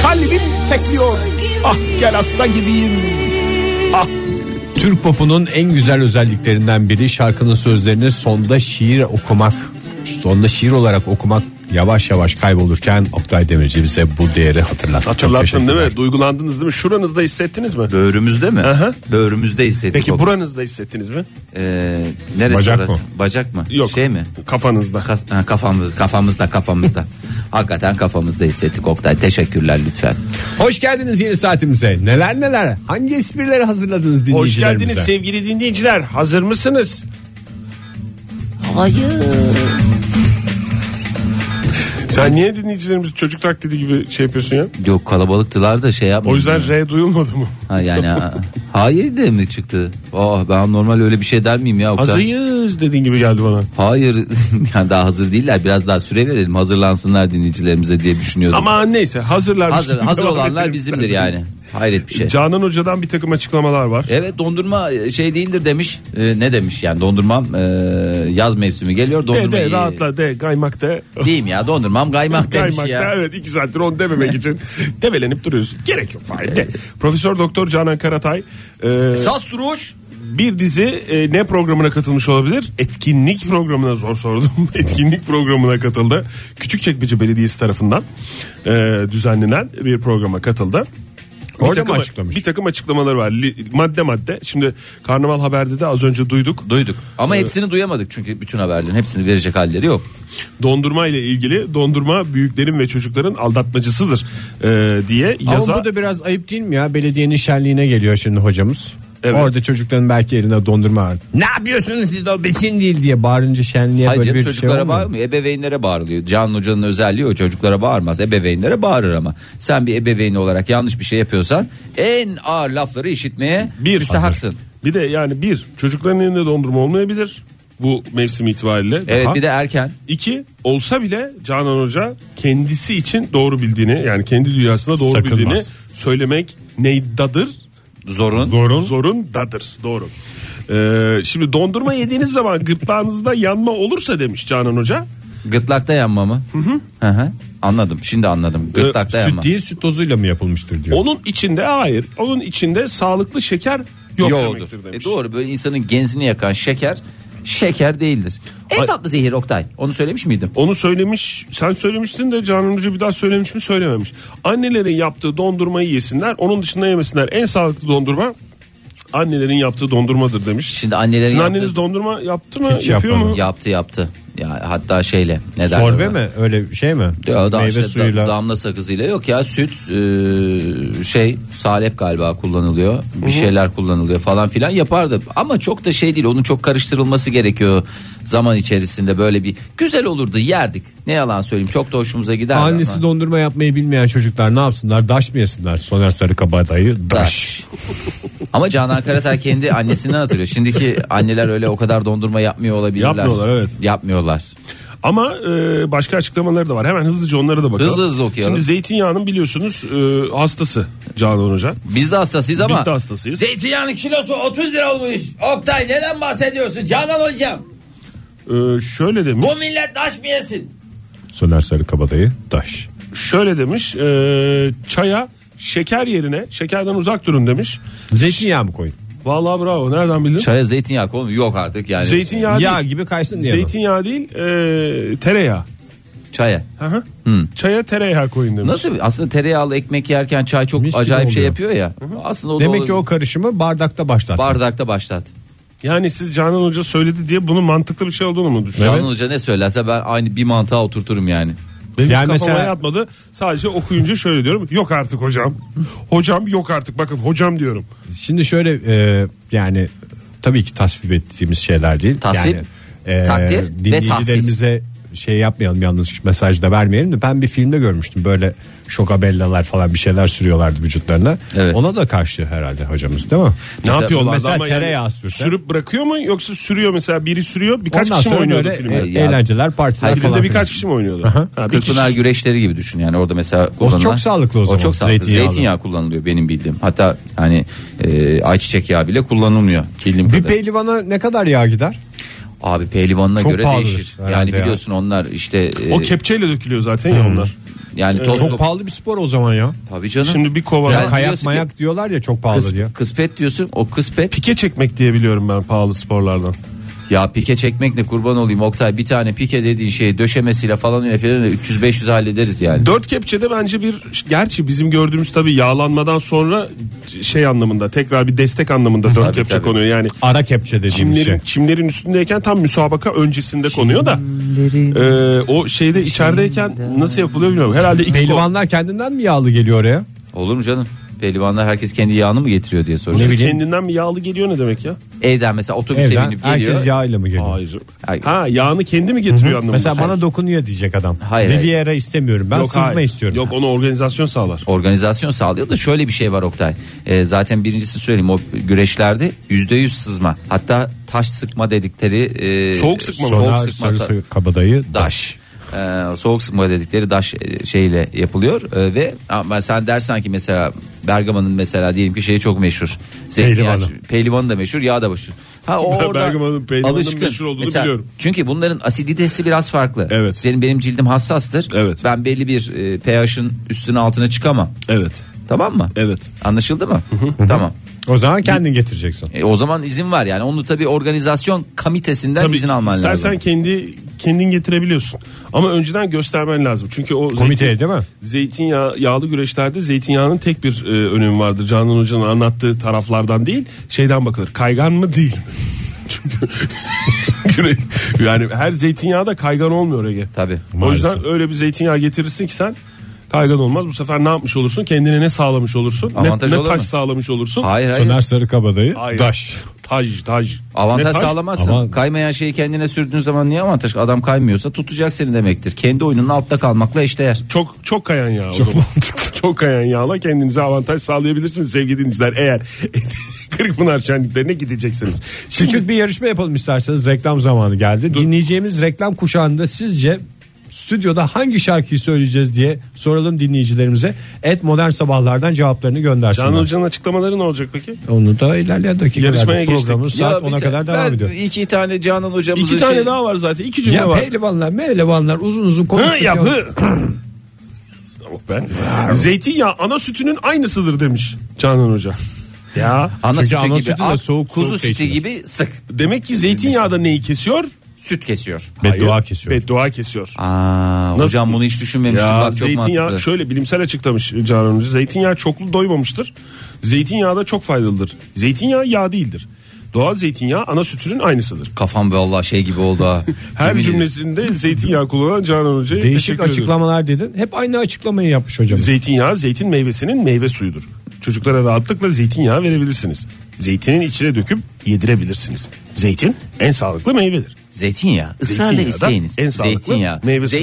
G: kalbim tekliyor ah gel hasta gibiyim
C: Türk popunun en güzel özelliklerinden biri şarkının sözlerini sonda şiir okumak. Sonda şiir olarak okumak yavaş yavaş kaybolurken Oktay Demirci bize bu değeri hatırlattı. Çok
E: Hatırlattın değil
C: teşekkürler.
E: mi? Duygulandınız değil mi? Şuranızda hissettiniz mi?
D: Böğrümüzde mi? Böğrümüzde hissettik.
E: Peki
D: o-
E: buranızda hissettiniz mi?
D: Ee, neresi
C: Bacak
D: orası?
C: mı?
D: Bacak mı?
E: Yok.
D: Şey mi?
E: Kafanızda.
D: Kas, ha, kafamız,
E: [LAUGHS]
D: kafamızda kafamızda. Hakikaten kafamızda hissettik Oktay. Teşekkürler lütfen.
C: Hoş geldiniz yeni saatimize. Neler neler hangi esprileri hazırladınız
E: Hoş
C: dinleyicilerimize?
E: geldiniz sevgili dinleyiciler. Hazır mısınız?
D: Hayır.
E: Sen niye dinleyicilerimiz çocuk taklidi gibi şey yapıyorsun ya?
D: Yok kalabalıktılar da şey yapmadım.
E: O yüzden R duyulmadı mı?
D: Ha, yani ha, hayır de mi çıktı? Oh ben normal öyle bir şey der miyim ya Oktay?
E: Hazırız dediğin gibi geldi bana.
D: Hayır [LAUGHS] yani daha hazır değiller biraz daha süre verelim hazırlansınlar dinleyicilerimize diye düşünüyordum.
E: Ama neyse hazırlar.
D: hazır hazır
E: Devam
D: olanlar
E: edelim.
D: bizimdir yani. Hayret bir şey.
E: Canan Hoca'dan bir takım açıklamalar var.
D: Evet dondurma şey değildir demiş. Ee, ne demiş yani dondurmam e, yaz mevsimi geliyor
E: De de
D: dondurmayı.
E: rahatla de kaymak de.
D: Diyeyim ya dondurmam kaymak
E: [LAUGHS]
D: demiş
E: Kaymak
D: ya.
E: da, evet iki saattir onu
C: [LAUGHS]
E: dememek için develenip duruyorsun. Gerek yok Fahir, de. Profesör Doktor Canan Karatay e,
D: Sas duruş.
E: bir dizi e, ne programına katılmış olabilir? Etkinlik programına zor sordum. [LAUGHS] Etkinlik programına katıldı. Küçükçekmece Belediyesi tarafından e, düzenlenen bir programa katıldı.
C: Orada mı
E: takım,
C: açıklamış?
E: Bir takım açıklamaları var. Li- madde madde. Şimdi Karnaval Haber'de de az önce duyduk.
D: Duyduk ama hepsini duyamadık çünkü bütün haberlerin hepsini verecek halleri yok.
E: Dondurma ile ilgili dondurma büyüklerin ve çocukların aldatmacısıdır e, diye yaza.
C: Ama bu da biraz ayıp değil mi ya? Belediyenin şenliğine geliyor şimdi hocamız.
E: Evet.
C: Orada çocukların belki eline dondurma var. Ne yapıyorsunuz siz o besin değil diye bağırınca şenliğe
D: Hayır
C: böyle
D: canım,
C: bir şey
D: çocuklara
C: olmuyor.
D: bağırmıyor ebeveynlere bağırılıyor. Can Hoca'nın özelliği o çocuklara bağırmaz ebeveynlere bağırır ama. Sen bir ebeveyn olarak yanlış bir şey yapıyorsan en ağır lafları işitmeye
E: Bir,
D: müstahaksın.
E: Bir de yani bir çocukların elinde dondurma olmayabilir bu mevsim itibariyle.
D: Evet
E: Daha.
D: bir de erken.
E: İki olsa bile Canan Hoca kendisi için doğru bildiğini yani kendi dünyasında doğru
C: Sakınmaz.
E: bildiğini söylemek neydadır?
D: Zorun.
E: Zorun. Zorundadır. Doğru. Ee, şimdi dondurma yediğiniz zaman gırtlağınızda yanma olursa demiş Canan Hoca.
D: Gırtlakta yanma mı? Hı hı. Anladım şimdi anladım. Gırtlakta
K: süt
D: yanma.
K: değil süt tozuyla mı yapılmıştır diyor.
E: Onun içinde hayır. Onun içinde sağlıklı şeker yok
D: Yoğurdur.
E: demektir
D: E
E: demiş.
D: doğru böyle insanın genzini yakan şeker şeker değildir. En tatlı zehir Oktay. Onu söylemiş miydim?
E: Onu söylemiş, sen söylemiştin de Canan Hoca bir daha söylemiş mi söylememiş. Annelerin yaptığı dondurmayı yesinler, onun dışında yemesinler. En sağlıklı dondurma annelerin yaptığı dondurmadır demiş.
D: Şimdi annelerin
E: Sizin
D: yaptığı-
E: anneniz dondurma yaptı mı?
K: Hiç
E: yapıyor mu?
K: yapmadım.
D: yaptı yaptı. Ya hatta şeyle ne derler
C: Sorbe
D: ona?
C: mi? Öyle şey mi?
D: Ya da
C: Meyve
D: işte da-
C: suyuyla.
D: damla sakızıyla yok ya süt e, şey salep galiba kullanılıyor bir şeyler kullanılıyor falan filan yapardı ama çok da şey değil onun çok karıştırılması gerekiyor zaman içerisinde böyle bir güzel olurdu yerdik ne yalan söyleyeyim çok da hoşumuza giderdi
C: Annesi
D: ama.
C: dondurma yapmayı bilmeyen çocuklar ne yapsınlar? Daş mı yesinler? Soner Sarıkabadayı daş.
D: Taş. [LAUGHS] Ama Canan Karatay kendi annesinden hatırlıyor. Şimdiki anneler öyle o kadar dondurma yapmıyor olabilirler.
E: Yapmıyorlar, evet.
D: Yapmıyorlar.
E: Ama e, başka açıklamaları da var. Hemen hızlıca onlara da bakalım.
D: Hızlı hızlı okuyalım.
E: Şimdi zeytinyağının biliyorsunuz e, hastası Canan Hoca.
D: Biz de hastasıyız ama.
E: Biz de hastasıyız.
D: Zeytinyağının kilosu 30 lira olmuş. Oktay neden bahsediyorsun Canan hocam?
E: E, şöyle demiş.
D: Bu millet taş mı yesin?
K: Soner Sarıkabadayı daş.
E: Şöyle demiş. e, çaya şeker yerine şekerden uzak durun demiş.
C: Zeytinyağı mı koyun?
E: Vallahi bravo. Nereden bildin?
D: Çaya zeytinyağı koymuyor. Yok artık yani.
E: Zeytinyağı
C: Yağ
E: değil.
C: gibi kaysın diye mi?
E: Zeytinyağı değil e, tereyağı.
D: Çaya.
E: Hı hı. Çaya tereyağı koyun demiş.
D: Nasıl? Aslında tereyağlı ekmek yerken çay çok
C: Mis gibi
D: acayip şey
C: oluyor.
D: yapıyor ya. Aslında o da
C: Demek ki o karışımı bardakta başlar.
D: bardakta başlat.
E: Yani siz Canan Hoca söyledi diye bunun mantıklı bir şey olduğunu mu düşünüyorsunuz?
D: Canan Hoca ne söylerse ben aynı bir mantığa oturturum yani.
E: Benim
C: Yani
E: yani kafama
C: mesela-
E: yatmadı. Sadece okuyunca şöyle diyorum. Yok artık hocam. hocam yok artık. Bakın hocam diyorum.
C: Şimdi şöyle e, yani tabii ki tasvip ettiğimiz şeyler değil.
D: Tasvip,
C: yani, e,
D: takdir ve
C: dinleyicilerimize şey yapmayalım yanlış mesaj da vermeyelim de ben bir filmde görmüştüm böyle şokabellalar falan bir şeyler sürüyorlardı vücutlarına.
D: Evet.
C: Ona da karşı herhalde hocamız değil mi?
E: Ne
D: Mesela-
E: yapıyorlar?
C: mesela
E: Ama yani
C: tereyağı sürse-
E: Sürüp bırakıyor mu yoksa sürüyor mesela biri sürüyor birkaç
C: Ondan
E: kişi mi
C: sonra
E: oynuyordu
C: böyle
E: filmde?
C: e, eğlenceler partiler
D: Hayır,
E: Filmde
C: falan.
E: birkaç
C: filan.
E: kişi mi oynuyordu? Ha, bir
D: Kırkpınar
E: kişi.
D: güreşleri gibi düşün yani orada mesela kullanılan.
C: çok sağlıklı o zaman,
D: çok sağlıklı.
C: zeytinyağlı.
D: Zeytinyağı kullanılıyor benim bildiğim. Hatta hani e, ayçiçek yağı bile kullanılmıyor. Bildiğim
C: Bir
D: kadar.
C: pehlivana ne kadar yağ gider?
D: Abi pehlivanına
C: Çok
D: göre
C: pahalıdır
D: değişir. Yani
C: herhalde ya.
D: biliyorsun onlar işte e,
E: O kepçeyle dökülüyor zaten
C: Hmm.
E: ya onlar.
D: yani toz
C: Çok pahalı bir spor o zaman ya.
D: Tabii canım.
E: Şimdi bir kova.
D: Sen
E: Yani
D: diyorsun
C: Kayak
D: ki-
C: mayak diyorlar ya çok pahalı
D: Kıs-
C: diyor.
D: kıspet diyorsun. O kıspet
E: Pike çekmek diye biliyorum ben pahalı sporlardan.
D: ya pike çekmek ne kurban olayım Oktay. Bir tane pike dediğin şeyi döşemesiyle falan ile falan 300 500 hallederiz yani.
E: Dört kepçede bence bir gerçi bizim gördüğümüz tabii yağlanmadan sonra şey anlamında tekrar bir destek anlamında dört
D: Tabii,
E: kepçe
D: tabii.
E: konuyor. Yani
C: Ara kepçe dediğimiz
E: çimlerin,
C: şey.
E: çimlerin üstündeyken tam müsabaka öncesinde konuyor da Ee, o şeyde içerideyken nasıl yapılıyor bilmiyorum. Herhalde iki kol-
C: Pehlivanlar kendinden mi yağlı geliyor oraya?
D: Olur mu canım? Pehlivanlar herkes kendi yağını mı getiriyor diye soruyor.
C: Ne bileyim.
E: kendinden mi yağlı geliyor ne demek ya?
D: Evden mesela otobüse
C: Evden
D: binip geliyor.
C: herkes yağıyla mı geliyor?
E: Hayır.
D: Hayır.
E: Ha yağını kendi mi getiriyor anlamında?
C: Mesela bana
E: Hayır.
C: dokunuyor diyecek adam.
D: Hayır,
C: Riviera istemiyorum. Ben sızma
E: hayır.
C: istiyorum.
E: Yok onu organizasyon sağlar.
D: organizasyon sağlıyor da şöyle bir şey var Oktay. Ee, zaten birincisi söyleyeyim o güreşlerde yüzde yüz sızma. Hatta taş sıkma dedikleri e,
E: Soğuk sıkma mı?
D: soğuk
C: Soner
D: sıkma
C: Sarı Kabadayı
D: taş. e, soğuk sıkma dedikleri daş e, şeyle yapılıyor E, ve ama sen dersen ki mesela Bergama'nın mesela diyelim ki şeyi çok meşhur. Zeytinyağı,
C: Pehlivanı.
D: pehlivanı da meşhur, yağ da meşhur. Ha o
E: Ben
D: orada
E: Bergama'nın pehlivanının
D: alışkın.
E: meşhur olduğunu biliyorum.
D: Çünkü bunların asiditesi biraz farklı.
E: Evet.
D: Senin benim cildim hassastır.
E: Evet.
D: Ben belli bir e, pH'ın üstüne altına çıkamam.
E: Evet.
D: Tamam mı?
E: Evet.
D: Anlaşıldı mı? tamam.
C: O zaman kendin getireceksin.
D: E, o zaman izin var yani. Onu tabii organizasyon komitesinden
E: Tabii
D: izin alman
E: istersen
D: lazım.
E: kendi kendin getirebiliyorsun. Ama önceden göstermen lazım. Çünkü o
C: Komiteye değil mi?
E: Zeytinyağı yağlı güreşlerde zeytinyağının tek bir e, önemi vardır. Canan Hoca'nın anlattığı taraflardan değil, şeyden bakılır. Kaygan mı değil mi? [LAUGHS] Çünkü güre- [LAUGHS] yani her zeytinyağı da kaygan olmuyor Ege.
D: Tabii.
E: O
C: Maalesef.
E: yüzden öyle bir zeytinyağı getirirsin ki sen kaygan olmaz. Bu sefer ne yapmış olursun? Kendine ne sağlamış olursun? Ne,
D: Avantaj
E: ne
D: olur
E: taş
D: mu?
E: sağlamış olursun?
D: Hayır hayır.
C: Soner Sarıkabadayı
E: Hayır.
C: Daş.
E: Taj, taj. Ne
D: Avantaj
E: taş?
D: sağlamazsın.
C: Aman.
D: Kaymayan şeyi kendine sürdüğün zaman niye avantaj? Adam kaymıyorsa tutacak seni demektir. Kendi oyunun altta kalmakla eşdeğer.
E: Çok çok kayan yağ. Çok [LAUGHS] Çok kayan yağla kendinize avantaj sağlayabilirsiniz sevgili dinleyiciler. Eğer [LAUGHS] Kırkpınar şenliklerine gideceksiniz. Şimdi
C: Küçük bir yarışma yapalım isterseniz reklam zamanı geldi. Dinleyeceğimiz reklam kuşağında sizce stüdyoda hangi şarkıyı söyleyeceğiz diye soralım dinleyicilerimize. Et Modern Sabahlardan cevaplarını
E: Canan
C: göndersinler.
E: Hoca'nın açıklamaları ne olacak peki?
C: Onu da ilerleyen
E: Yarışmaya
C: dakikalarda programımız
E: geçtik.
C: saat
D: Ya
C: 10'a
D: bize- ver
C: kadar devam ediyor.
D: İki tane Canan hocamızın
E: İki tane
D: şey-
E: daha var zaten. İki cümle
C: Ya
E: var.
C: pehlivanlar mehlivanlar uzun uzun konuştuk.
E: Hı ya
C: ya.
E: hı. Oh be. Zeytinyağı ana sütünün aynısıdır demiş Canan Hoca. Ya
D: Ana
C: Çünkü
D: sütü
C: ana
D: gibi
C: sütü de
D: ak,
C: soğuk,
D: kuzu
C: soğuk da
D: sütü
C: içilir.
D: gibi sık.
E: demek ki zeytinyağı da neyi kesiyor?
D: Süt kesiyor.
C: Beddua
E: Hayır,
C: kesiyor.
E: Beddua kesiyor.
D: Aa,
E: Nasıl?
D: hocam bunu hiç düşünmemiştim.
E: Ya
D: Bak çok
E: zeytinyağı
D: mantıklı.
E: şöyle bilimsel açıklamış Canan Hoca. Zeytinyağı çoklu doymamıştır. Zeytinyağı da çok faydalıdır. Zeytinyağı yağ değildir. Doğal zeytinyağı ana sütünün aynısıdır.
D: Kafam vallahi şey gibi oldu ha.
E: Her
D: Yemin ederim.
E: cümlesinde zeytinyağı kullanan Canan Hoca'ya
C: Değişik
E: teşekkür ederim.
C: açıklamalar dedin. Hep aynı açıklamayı yapmış hocam.
E: Zeytinyağı zeytin meyvesinin meyve suyudur. Çocuklara rahatlıkla zeytinyağı verebilirsiniz. Zeytinin içine döküp yedirebilirsiniz. Zeytin en sağlıklı meyvedir.
D: Zeytinyağı. Israrla
E: Zeytinyağı da
D: isteyiniz.
E: en sağlıklı
D: Zeytinyağı.
E: meyve suyu.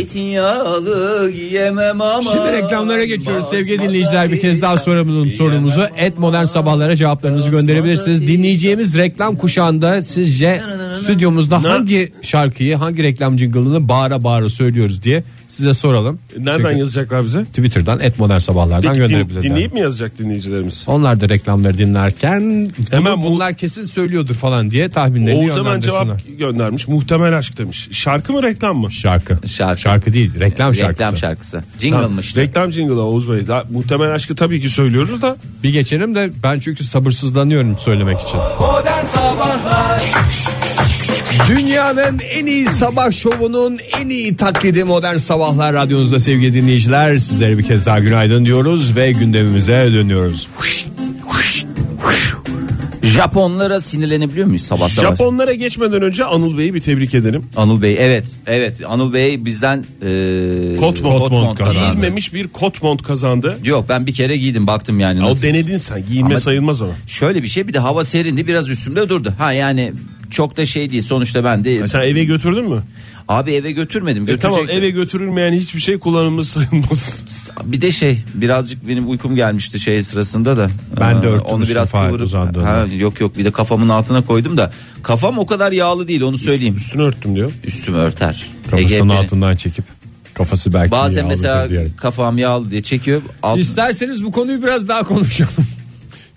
D: Zeytinyağlı yiyemem ama.
C: Şimdi reklamlara geçiyoruz sevgili
D: basmadan
C: dinleyiciler. Bir kez daha
D: yiyemem.
C: sorumuzun sorumuzu et modern sabahlara cevaplarınızı gönderebilirsiniz. Dinleyeceğimiz reklam kuşağında sizce stüdyomuzda hangi şarkıyı hangi reklam jingle'ını bağıra bağıra söylüyoruz diye size soralım.
E: Nereden
C: Çünkü
E: yazacaklar bize?
C: Twitter'dan et modern sabahlardan
E: Peki, din-
C: gönderebilirler.
E: dinleyip mi yazacak dinleyicilerimiz?
C: onlar da reklamları dinlerken
E: Hemen
C: hemen
E: bu-
C: bunlar kesin söylüyordur falan diye tahminlerini
E: Oğuz hemen
C: yönlendirsinler.
E: cevap göndermiş. Muhtemel aşk demiş. Şarkı mı reklam mı?
C: Şarkı.
D: Şarkı.
C: Şarkı. değil, reklam şarkısı.
D: Reklam şarkısı. Jingle'mıştı.
E: Reklam jingle'ı Oğuz Bey. Daha, muhtemel aşkı tabii ki söylüyoruz da.
C: Bir geçelim de ben çünkü sabırsızlanıyorum söylemek için.
B: Modern Sabahlar
C: Dünyanın en iyi sabah şovunun en iyi taklidi modern sabahlar radyonuzda sevgili dinleyiciler. Sizlere bir kez daha günaydın diyoruz ve gündemimize dönüyoruz.
D: Japonlara sinirlenebiliyor muyuz sabah sabah?
E: Japonlara geçmeden önce Anıl Bey'i bir tebrik edelim.
D: Anıl Bey evet. Evet Anıl Bey bizden e,
E: Kot mont.
D: kot mont kazandı.
E: Giyilmemiş bir kot mont kazandı.
D: Yok ben bir kere giydim baktım yani.
E: Ya o
D: nasıl-
E: denedin sen. Giyinme
D: Ama-
E: sayılmaz ona.
D: Şöyle bir şey bir de hava serindi biraz üstümde durdu. Ha yani çok da şey değil sonuçta ben de
E: Sen eve götürdün mü?
D: abi eve götürmedim.
E: E tamam
D: götürecektim.
E: eve götürülmeyen hiçbir şey kullanımı
D: [LAUGHS]
E: sayılmaz.
D: Bir de şey birazcık benim uykum gelmişti şey sırasında da.
C: Ben de
D: Ee,
C: örtmüştüm
D: Onu biraz
C: Fahir
D: kıvırıp.
C: uzandığında.
D: Ha, yok yok bir de kafamın altına koydum da. Kafam o kadar yağlı değil onu söyleyeyim.
E: Üstünü örttüm diyor.
D: Üstümü örter. Ege
C: Kafasının
D: benim-
C: altından çekip kafası belki
D: Bazen
C: yağlıdır
D: mesela
C: diyerek.
D: kafam yağlı diye çekiyor. Alt...
C: İsterseniz bu konuyu biraz daha konuşalım.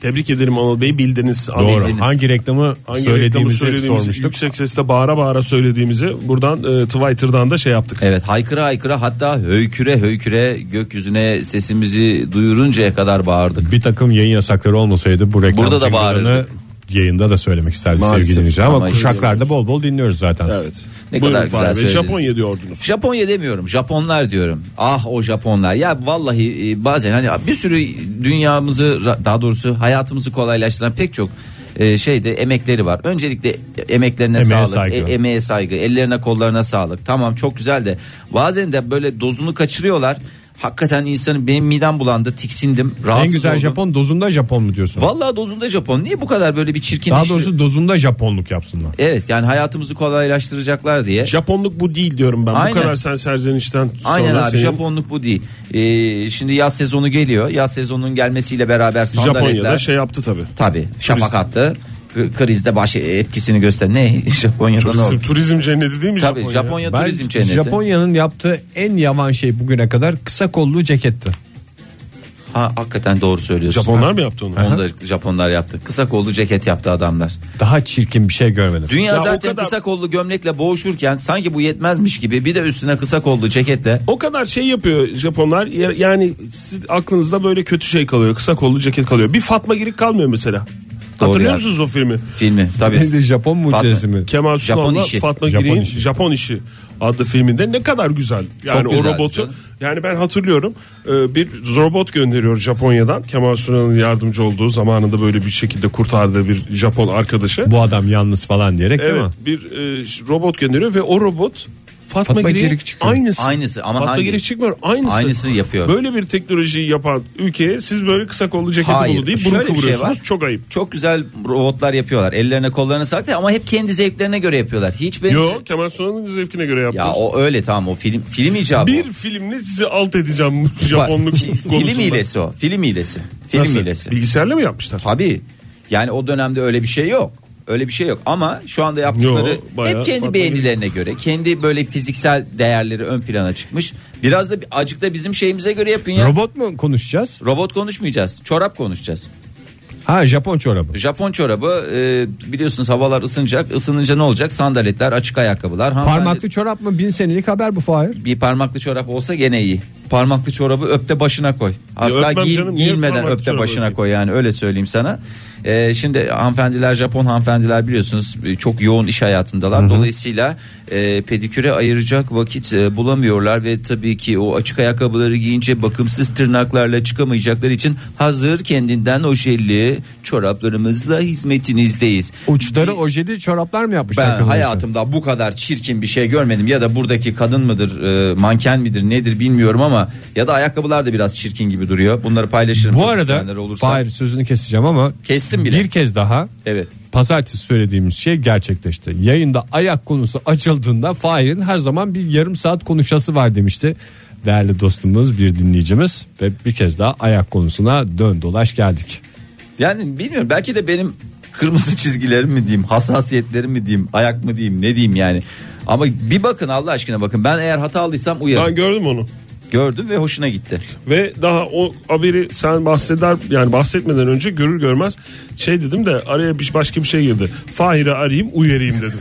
E: Tebrik ederim Anıl Bey bildiniz.
C: Doğru.
E: Bildiniz.
C: Hangi reklamı
E: Hangi reklamı
C: söylediğimizi,
E: söylediğimizi
C: sormuştuk.
E: yüksek sesle bağıra bağıra söylediğimizi buradan e, Twitter'dan da şey yaptık.
D: Evet haykıra haykıra hatta höyküre höyküre gökyüzüne sesimizi duyuruncaya kadar bağırdık.
C: Bir takım yayın yasakları olmasaydı bu reklam
D: Burada da
C: jingle'ını
D: bağırırdık.
C: yayında da söylemek isterdik
D: Maalesef.
C: sevgili dinleyiciler ama,
D: Ama
C: kuşaklarda bol bol dinliyoruz zaten.
E: Evet.
D: Ne
E: Buyurun
D: kadar
E: Fahri
D: güzel
E: Bey,
D: söylediniz.
E: Japonya diyordunuz.
D: Japonya demiyorum. Japonlar diyorum. Ah o Japonlar. Ya vallahi e, bazen hani bir sürü dünyamızı ra- daha doğrusu hayatımızı kolaylaştıran pek çok e, şeyde emekleri var. Öncelikle emeklerine
C: Emeğe
D: sağlık,
C: saygı.
D: e- emeğe saygı, ellerine kollarına sağlık. Tamam çok güzel de bazen de böyle dozunu kaçırıyorlar. Hakikaten insanın benim midem bulandı, tiksindim, rahatsız
C: En güzel
D: oldum.
C: Japon dozunda Japon mu diyorsun?
D: Vallahi dozunda Japon. Niye bu kadar böyle bir çirkin?
C: Daha doğrusu dozunda Japonluk yapsınlar.
D: evet yani hayatımızı kolaylaştıracaklar diye.
E: Japonluk bu değil diyorum ben.
D: Aynen.
E: Bu kadar sen serzenişten sonra şey-
D: Aynen abi
E: senin
D: Japonluk bu değil. Ee, şimdi yaz sezonu geliyor. Yaz sezonunun gelmesiyle beraber sandaletler
E: Japonya'da şey yaptı şey tabii.
D: tabi şafak attı. k- krizde baş e, etkisini göster. Ne [LAUGHS] Japonya'da ne
E: Turizm,
D: oldu?
E: turizm cenneti değil mi
D: Tabii
E: Japonya?
D: Japonya
C: Ben
D: turizm cenneti.
C: Japonya'nın yaptığı en yavan şey bugüne kadar kısa kollu ceketti.
D: Ha hakikaten doğru söylüyorsun.
E: Japonlar mı yaptı onu?
D: Onu da Japonlar yaptı. Kısa kollu ceket yaptı adamlar.
C: Daha çirkin bir şey görmedim.
D: Dünya
E: Ya o
D: zaten
E: kadar-
D: kısa kollu gömlekle boğuşurken sanki bu yetmezmiş gibi bir de üstüne kısa kollu ceketle.
E: O kadar şey yapıyor Japonlar Ya- yani siz aklınızda böyle kötü şey kalıyor kısa kollu ceket kalıyor. Bir Fatma Girik kalmıyor mesela.
D: Doğru
E: Hatırlıyor
D: ya.
E: musunuz o filmi?
D: Filmi tabii.
C: Neydi Japon mucizesi mi?
E: Kemal
D: Japon
E: Sunal'la
D: işi.
E: Fatma
C: Japon
E: Girik'in
C: işi.
E: Japon işi adlı filminde ne kadar güzel. Yani o
D: güzel
E: robotu
D: canım.
E: yani ben hatırlıyorum e, bir robot gönderiyor Japonya'dan. Kemal Sunal'ın yardımcı olduğu zamanında böyle bir şekilde kurtardığı bir Japon arkadaşı.
C: Bu adam yalnız falan diyerek değil
E: Evet
C: mi?
E: bir e, ş- robot gönderiyor ve o robot Fatma,
C: Fatma
E: Girik'in
C: Girik çıkıyor.
E: aynısı.
D: Aynısı ama
E: Fatma
D: hangi?
E: Girik çıkmıyor aynısı.
D: Aynısını yapıyor.
E: Böyle bir teknolojiyi yapan ülkeye siz böyle kısa kollu ceketi
D: Hayır.
E: bulu deyip bunu
D: Şöyle bir şey
E: kıvırıyorsunuz.
D: var.
E: Çok ayıp.
D: Çok güzel robotlar yapıyorlar. Ellerine kollarına saklıyor ama hep kendi zevklerine göre yapıyorlar. Hiç bence...
E: Yo Kemal Sunal'ın zevkine göre yaptı.
D: Ya o öyle tamam o film film icabı. o.
E: Bir filmle sizi alt edeceğim bu
D: Bak,
E: Japonluk
D: fi-
E: konusunda.
D: [LAUGHS] Film hilesi o. Film hilesi. Film
E: Nasıl?
D: hilesi.
E: Bilgisayarla mı yapmışlar?
D: Tabii. Yani o dönemde öyle bir şey yok. Öyle bir şey yok ama şu anda yaptıkları
E: Yo, bayağı
D: hep kendi
E: farklı.
D: beğenilerine göre, kendi böyle fiziksel değerleri ön plana çıkmış. Biraz da acık da bizim şeyimize göre yapın ya.
C: Robot mu konuşacağız?
D: Robot konuşmayacağız. Çorap konuşacağız.
C: Ha Japon çorabı.
D: Japon çorabı e, biliyorsunuz havalar ısınacak. Isınınca ne olacak? Sandaletler, açık ayakkabılar. hanımefendi-
C: Parmaklı çorap mı? Bin senelik haber bu Fahir.
D: bir parmaklı çorap olsa gene iyi. Parmaklı çorabı öpte başına koy. Hatta
E: öpmem
D: giy-
E: canım, niye
D: giyinmeden
E: parmaklı
D: öpte
E: çorabı
D: başına
E: öpeyim?
D: koy yani öyle söyleyeyim sana. Ee, şimdi hanımefendiler Japon hanımefendiler biliyorsunuz e, çok yoğun iş hayatındalar. Dolayısıyla e, pediküre ayıracak vakit e, bulamıyorlar ve tabii ki o açık ayakkabıları giyince bakımsız tırnaklarla çıkamayacakları için hazır kendinden ojelli çoraplarımızla hizmetinizdeyiz.
C: Uçları ojeli çoraplar mı yapmışlar?
D: Ben
C: arkadaşlar?
D: hayatımda bu kadar çirkin bir şey görmedim ya da buradaki kadın mıdır e, manken midir nedir bilmiyorum ama ya da ayakkabılar da biraz çirkin gibi duruyor. Bunları paylaşırım.
C: Bu
D: çok
C: arada
D: isteyenler olursa.
C: Fahir sözünü keseceğim ama
D: Kestim bile.
C: bir kez daha
D: Evet.
C: pazartesi söylediğimiz şey gerçekleşti. Yayında ayak konusu açıldığında Fahir'in her zaman bir yarım saat konuşası var demişti. Değerli dostumuz bir dinleyicimiz ve bir kez daha ayak konusuna dön dolaş geldik.
D: Yani bilmiyorum belki de benim kırmızı çizgilerim mi diyeyim, hassasiyetlerim mi diyeyim, ayak mı diyeyim, ne diyeyim yani. Ama bir bakın Allah aşkına bakın. Ben eğer hatalıysam uyarım.
E: Ben gördüm onu.
D: Gördüm ve hoşuna gitti.
E: Ve daha o haberi sen bahseder yani bahsetmeden önce görür görmez şey dedim de araya bir başka bir şey girdi. Fahir'i arayayım uyarayım
D: [LAUGHS]
E: dedim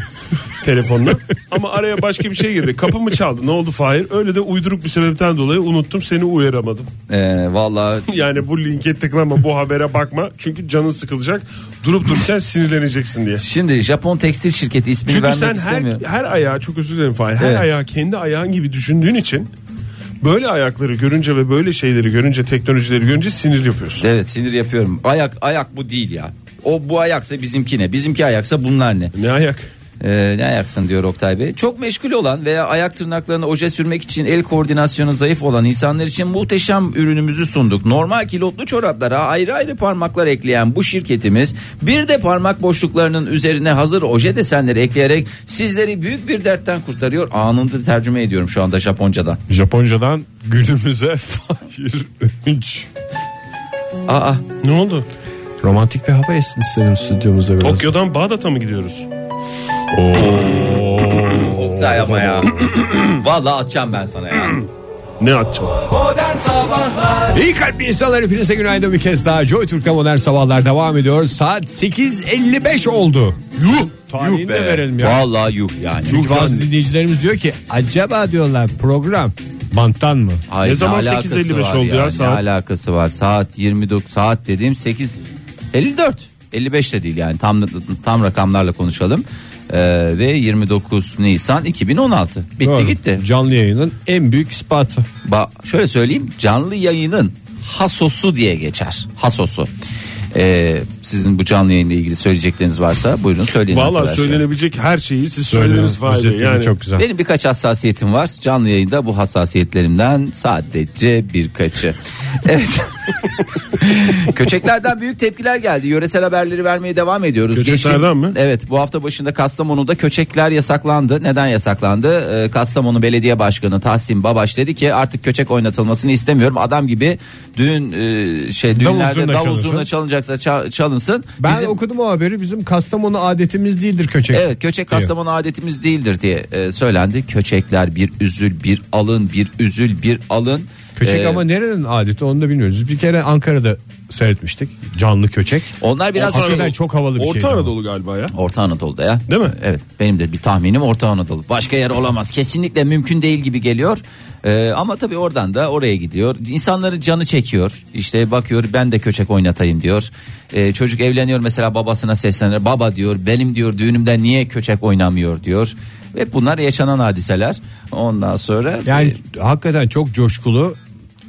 E: telefonla. Ama araya başka bir şey girdi. Kapımı çaldı. Ne oldu Fahir? Öyle de uyduruk bir sebepten dolayı unuttum seni uyaramadım. [LAUGHS]
D: Ee, vallahi
E: Yani bu linke tıklama bu habere bakma. Çünkü canın sıkılacak. Durup dururken
D: [LAUGHS]
E: sinirleneceksin diye.
D: şimdi Japon tekstil şirketi ismini
E: Çünkü
D: vermek
E: sen her,
D: istemiyorum.
E: her ayağı çok özür dilerim Fahir. Her
D: Evet.
E: ayağı kendi ayağın gibi düşündüğün için böyle ayakları görünce ve böyle şeyleri görünce teknolojileri görünce sinir yapıyorsun.
D: Evet sinir yapıyorum. Ayak ayak bu değil ya. O bu ayaksa bizimki ne? Bizimki ayaksa bunlar ne?
E: Ne ayak?
D: Ee, ne ayaksın diyor Oktay Bey. Çok meşgul olan veya ayak tırnaklarına oje sürmek için el koordinasyonu zayıf olan insanlar için muhteşem ürünümüzü sunduk. Normal kilotlu çoraplara ayrı ayrı parmaklar ekleyen bu şirketimiz bir de parmak boşluklarının üzerine hazır oje desenleri ekleyerek sizleri büyük bir dertten kurtarıyor. Anında tercüme ediyorum şu anda Japoncadan.
C: Japoncadan
E: [LAUGHS]
C: günümüze Fahir Önç.
D: Aa
E: Ne oldu?
C: Romantik bir hava essin istedim stüdyomuzda biraz.
E: Tokyo'dan Bağdat'a mı gidiyoruz?
D: Oktay
B: [COUGHS]
D: ama ya. Vallahi atacağım ben sana ya.
E: Ne atacağım?
B: Modern Sabahlar
C: İyi kalpli insanlar hepinize günaydın bir kez daha. Joy Türk'te modern sabahlar devam ediyor. Saat 8.55 oldu. Yuh. Tarihini de verelim ya.
D: Vallahi yuh yani.
C: Çünkü bazı dinleyicilerimiz diyor ki acaba diyorlar program banttan mı?
D: Hayır,
E: Ne zaman
D: alakası
E: 8.55
D: var
E: oldu ya
D: Ne
E: saat?
D: alakası var? Saat 29 saat dediğim 8 54 55 de değil yani tam tam rakamlarla konuşalım. Ee, ve 29 Nisan 2016. Bitti
C: Doğru.
D: gitti.
C: Canlı yayının en büyük ispatı.
D: Ba şöyle söyleyeyim canlı yayının hasosu diye geçer. Hasosu. Ee, sizin bu canlı yayınla ilgili söyleyecekleriniz varsa buyurun söyleyin.
E: Valla
D: arkadaşlar.
E: söylenebilecek her şeyi siz söylediniz Fahir Bey.
C: Özetleri
E: Yani
C: çok güzel.
D: Benim birkaç hassasiyetim var. Canlı yayında bu hassasiyetlerimden sadece birkaçı. [LAUGHS] Evet. Köçeklerden büyük tepkiler geldi. Yöresel haberleri vermeye devam ediyoruz.
E: Köçeklerden mi?
D: Evet. Bu hafta başında Kastamonu'da köçekler yasaklandı. Neden yasaklandı? Ee, Kastamonu Belediye Başkanı Tahsin Babaş dedi ki artık köçek oynatılmasını istemiyorum. Adam gibi düğün e, şey düğünlerde
C: zurna
D: davul
C: çalınsın.
D: zurna çalınacaksa ça- çalınsın. kastamonusun.
C: Ben
D: Bizim-
C: okudum o haberi. Bizim Kastamonu adetimiz değildir köçek.
D: Evet köçek Kastamonu adetimiz değildir diye e, söylendi. Köçekler bir üzül bir alın bir üzül bir alın.
C: Köçek
D: E,
C: ama nerenin adeti onu da bilmiyoruz. Biz Bir kere Ankara'da seyretmiştik canlı köçek.
D: Onlar biraz
C: Orta
D: şey-
C: Anadolu. çok havalı bir şeydi
E: Orta
C: ama.
E: Anadolu galiba ya.
D: Orta Anadolu'da ya.
E: Değil mi?
D: Evet benim de bir tahminim Orta Anadolu. Başka yer olamaz. Kesinlikle mümkün değil gibi geliyor. E, ama tabii oradan da oraya gidiyor. İnsanların canı çekiyor. İşte bakıyor ben de köçek oynatayım diyor. E, çocuk evleniyor mesela babasına seslenir. Baba diyor benim diyor düğünümde niye köçek oynamıyor diyor. Ve bunlar yaşanan hadiseler. Ondan sonra
C: Yani hakikaten çok coşkulu,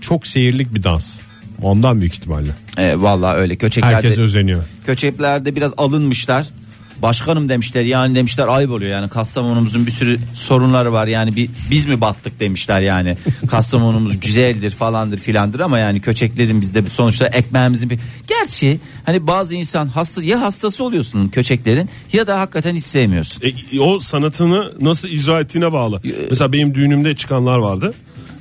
C: çok seyirlik bir dans. Ondan büyük ihtimalle.
D: E, vallahi öyle köçeklerde
C: Herkes özeniyor.
D: köçeklerde biraz alınmışlar. Başkanım demişler yani demişler ayıp oluyor yani Kastamonumuzun bir sürü sorunları var yani bir, biz mi battık
E: [LAUGHS]
D: demişler yani Kastamonumuz güzeldir falandır filandır ama yani köçeklerin bizde bir sonuçta ekmeğimizin bir gerçi hani bazı insan hasta ya hastası oluyorsun köçeklerin ya da hakikaten hiç sevmiyorsun.
E: E, o sanatını nasıl icra ettiğine bağlı.
C: Ee,
E: Mesela benim düğünümde çıkanlar vardı.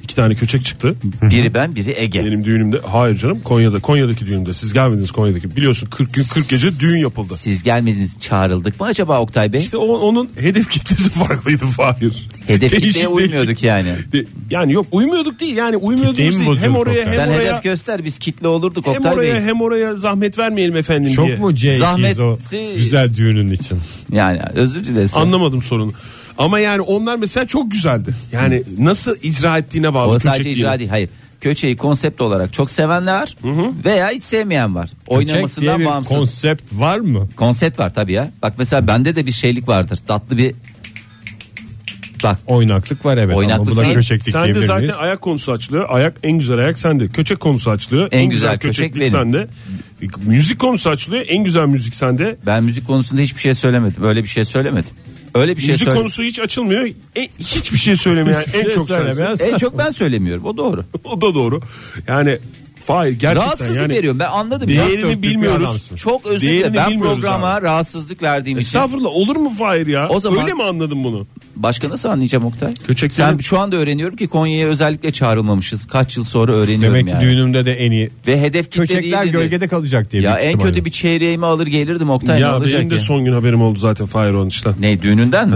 E: İki tane köçek çıktı.
D: Biri ben biri Ege.
E: Benim düğünümde hayır canım Konya'da Konya'daki düğünümde siz gelmediniz Konya'daki biliyorsun 40 gün 40 gece düğün yapıldı.
D: Siz gelmediniz çağrıldık mı acaba Oktay Bey?
E: İşte o- onun hedef kitlesi [LAUGHS] farklıydı Fahir.
D: Hedef
E: Değişik,
D: kitleye uymuyorduk yani.
E: De- Yani yok uymuyorduk değil yani uymuyorduk
C: Kitleyi mi
E: değil. Hem
C: bozuyorduk
E: oraya hem
D: Sen
E: oraya
D: hedef göster biz kitle olurduk
E: hem
D: Oktay Bey.
E: oraya hem oraya zahmet vermeyelim efendim
C: Çok
E: diye.
C: mu C200 o
D: Zahmetsiz.
C: güzel düğünün için?
D: Yani özür dilerim.
E: Anlamadım sorunu. Ama yani onlar mesela çok güzeldi. Yani nasıl icra ettiğine bağlı.
D: O
E: köçek
D: sadece
E: diyelim.
D: icra değil. Hayır. Köçeyi konsept olarak çok sevenler veya hiç sevmeyen var.
C: Köçek diye
D: Oynamasından
C: bir
D: bağımsız.
C: konsept var mı?
D: konsept var tabii ya. Bak mesela bende de bir şeylik vardır. Tatlı bir Bak
C: Oynaklık var evet.
D: Oynaklık
C: ama bu da
D: değil.
C: köçeklik
E: Sen de
C: diyebilir
E: zaten
C: miyiz?
E: ayak konusu açılıyor. Ayak en güzel ayak sende. Köçek konusu açılıyor.
D: En güzel köçek benim.
E: sende. Müzik konusu açılıyor. En güzel müzik sende.
D: ben müzik konusunda hiçbir şey söylemedim. Öyle bir şey söylemedim. Öyle bir şey
E: müzik
D: söyle.
E: konusu hiç açılmıyor. E, hiçbir şey söylemeyen en çok sensin.
C: söylemeyen-
D: En E, çok ben söylemiyorum. O doğru.
E: O da doğru. Yani Fahir gerçekten
D: Rahatsızlık
E: yani.
D: veriyorum. Ben anladım. ya.
E: Değerini
C: bir
E: bilmiyoruz.
C: adamsın.
D: Çok özür
E: Değerini
D: dilerim. Ben
E: bilmiyoruz E,
D: programa rahatsızlık verdiğim için.
E: Estağfurullah olur mu Fahir ya?
D: O zaman-
E: Öyle mi anladın bunu?
D: Başka nasıl anlayacağım Oktay?
E: Köçeklerin-
D: Sen şu anda öğreniyorum ki Konya'ya özellikle çağrılmamışız. Kaç yıl sonra öğreniyorum
C: Demek ki
D: yani.
C: düğünümde de en iyi.
D: Ve hedef kitle
C: Köçekler
D: değildi.
C: gölgede kalacak diye.
D: Ya
C: büyük
D: en
C: ihtimalle.
D: kötü bir çeyreğimi alır gelirdim Oktay ne
E: ya
D: olacak
E: benim de
D: ya?
E: son gün haberim oldu zaten Fahir onun işten.
D: Ne düğününden mi?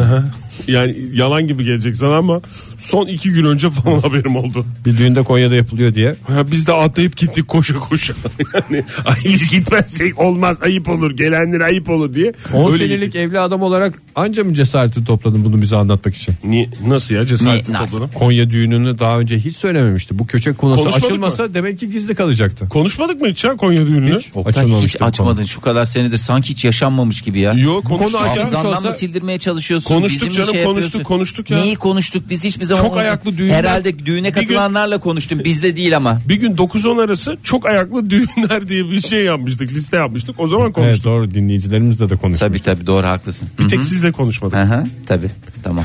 E: Yani yalan gibi gelecek sana ama son iki gün önce falan haberim oldu.
C: Bir düğünde Konya'da yapılıyor diye.
E: Ya biz de atlayıp gittik koşa koşa. [LAUGHS] yani ay biz gitmezsek olmaz ayıp olur gelenlere ayıp olur diye.
C: 10
E: Öyle
C: senelik
E: gittik.
C: evli adam olarak anca mı cesareti topladın bunu bize anlatmak için?
E: Ni- nasıl ya cesaret
D: Ni- nasıl?
E: toplanıp?
C: Konya düğününü daha önce hiç söylememişti. Bu köçek konusu
E: Konuşmadık
C: açılmasa demek ki gizli kalacaktı.
E: Konuşmadık mı hiç ya Konya düğününü?
D: Oktay hiç
C: bu
D: açmadın şu kadar senedir sanki hiç yaşanmamış gibi ya.
E: Yok konuştuk
C: konu
E: ya.
C: açılmış
D: Hafızandan
C: olsa-
D: mı sildirmeye çalışıyorsun?
E: Konuştuk
D: bizim mi
E: canım, konuştuk,
D: yapıyorsun?
E: konuştuk ya.
D: Neyi konuştuk biz hiçbir zaman?
E: Çok
D: onu-
E: ayaklı düğünler-
D: Herhalde düğüne
E: Bir gün-
D: katılanlarla konuştum bizde değil ama.
E: Bir gün 9-10 arası çok ayaklı düğünler diye bir şey yapmıştık liste yapmıştık o zaman
C: konu. Evet
E: konuştuk.
C: doğru dinleyicilerimizle de konuştuk.
D: Tabi tabi doğru haklısın.
E: Bir tek sizle konuşmadık.
D: Aha, tabi tamam.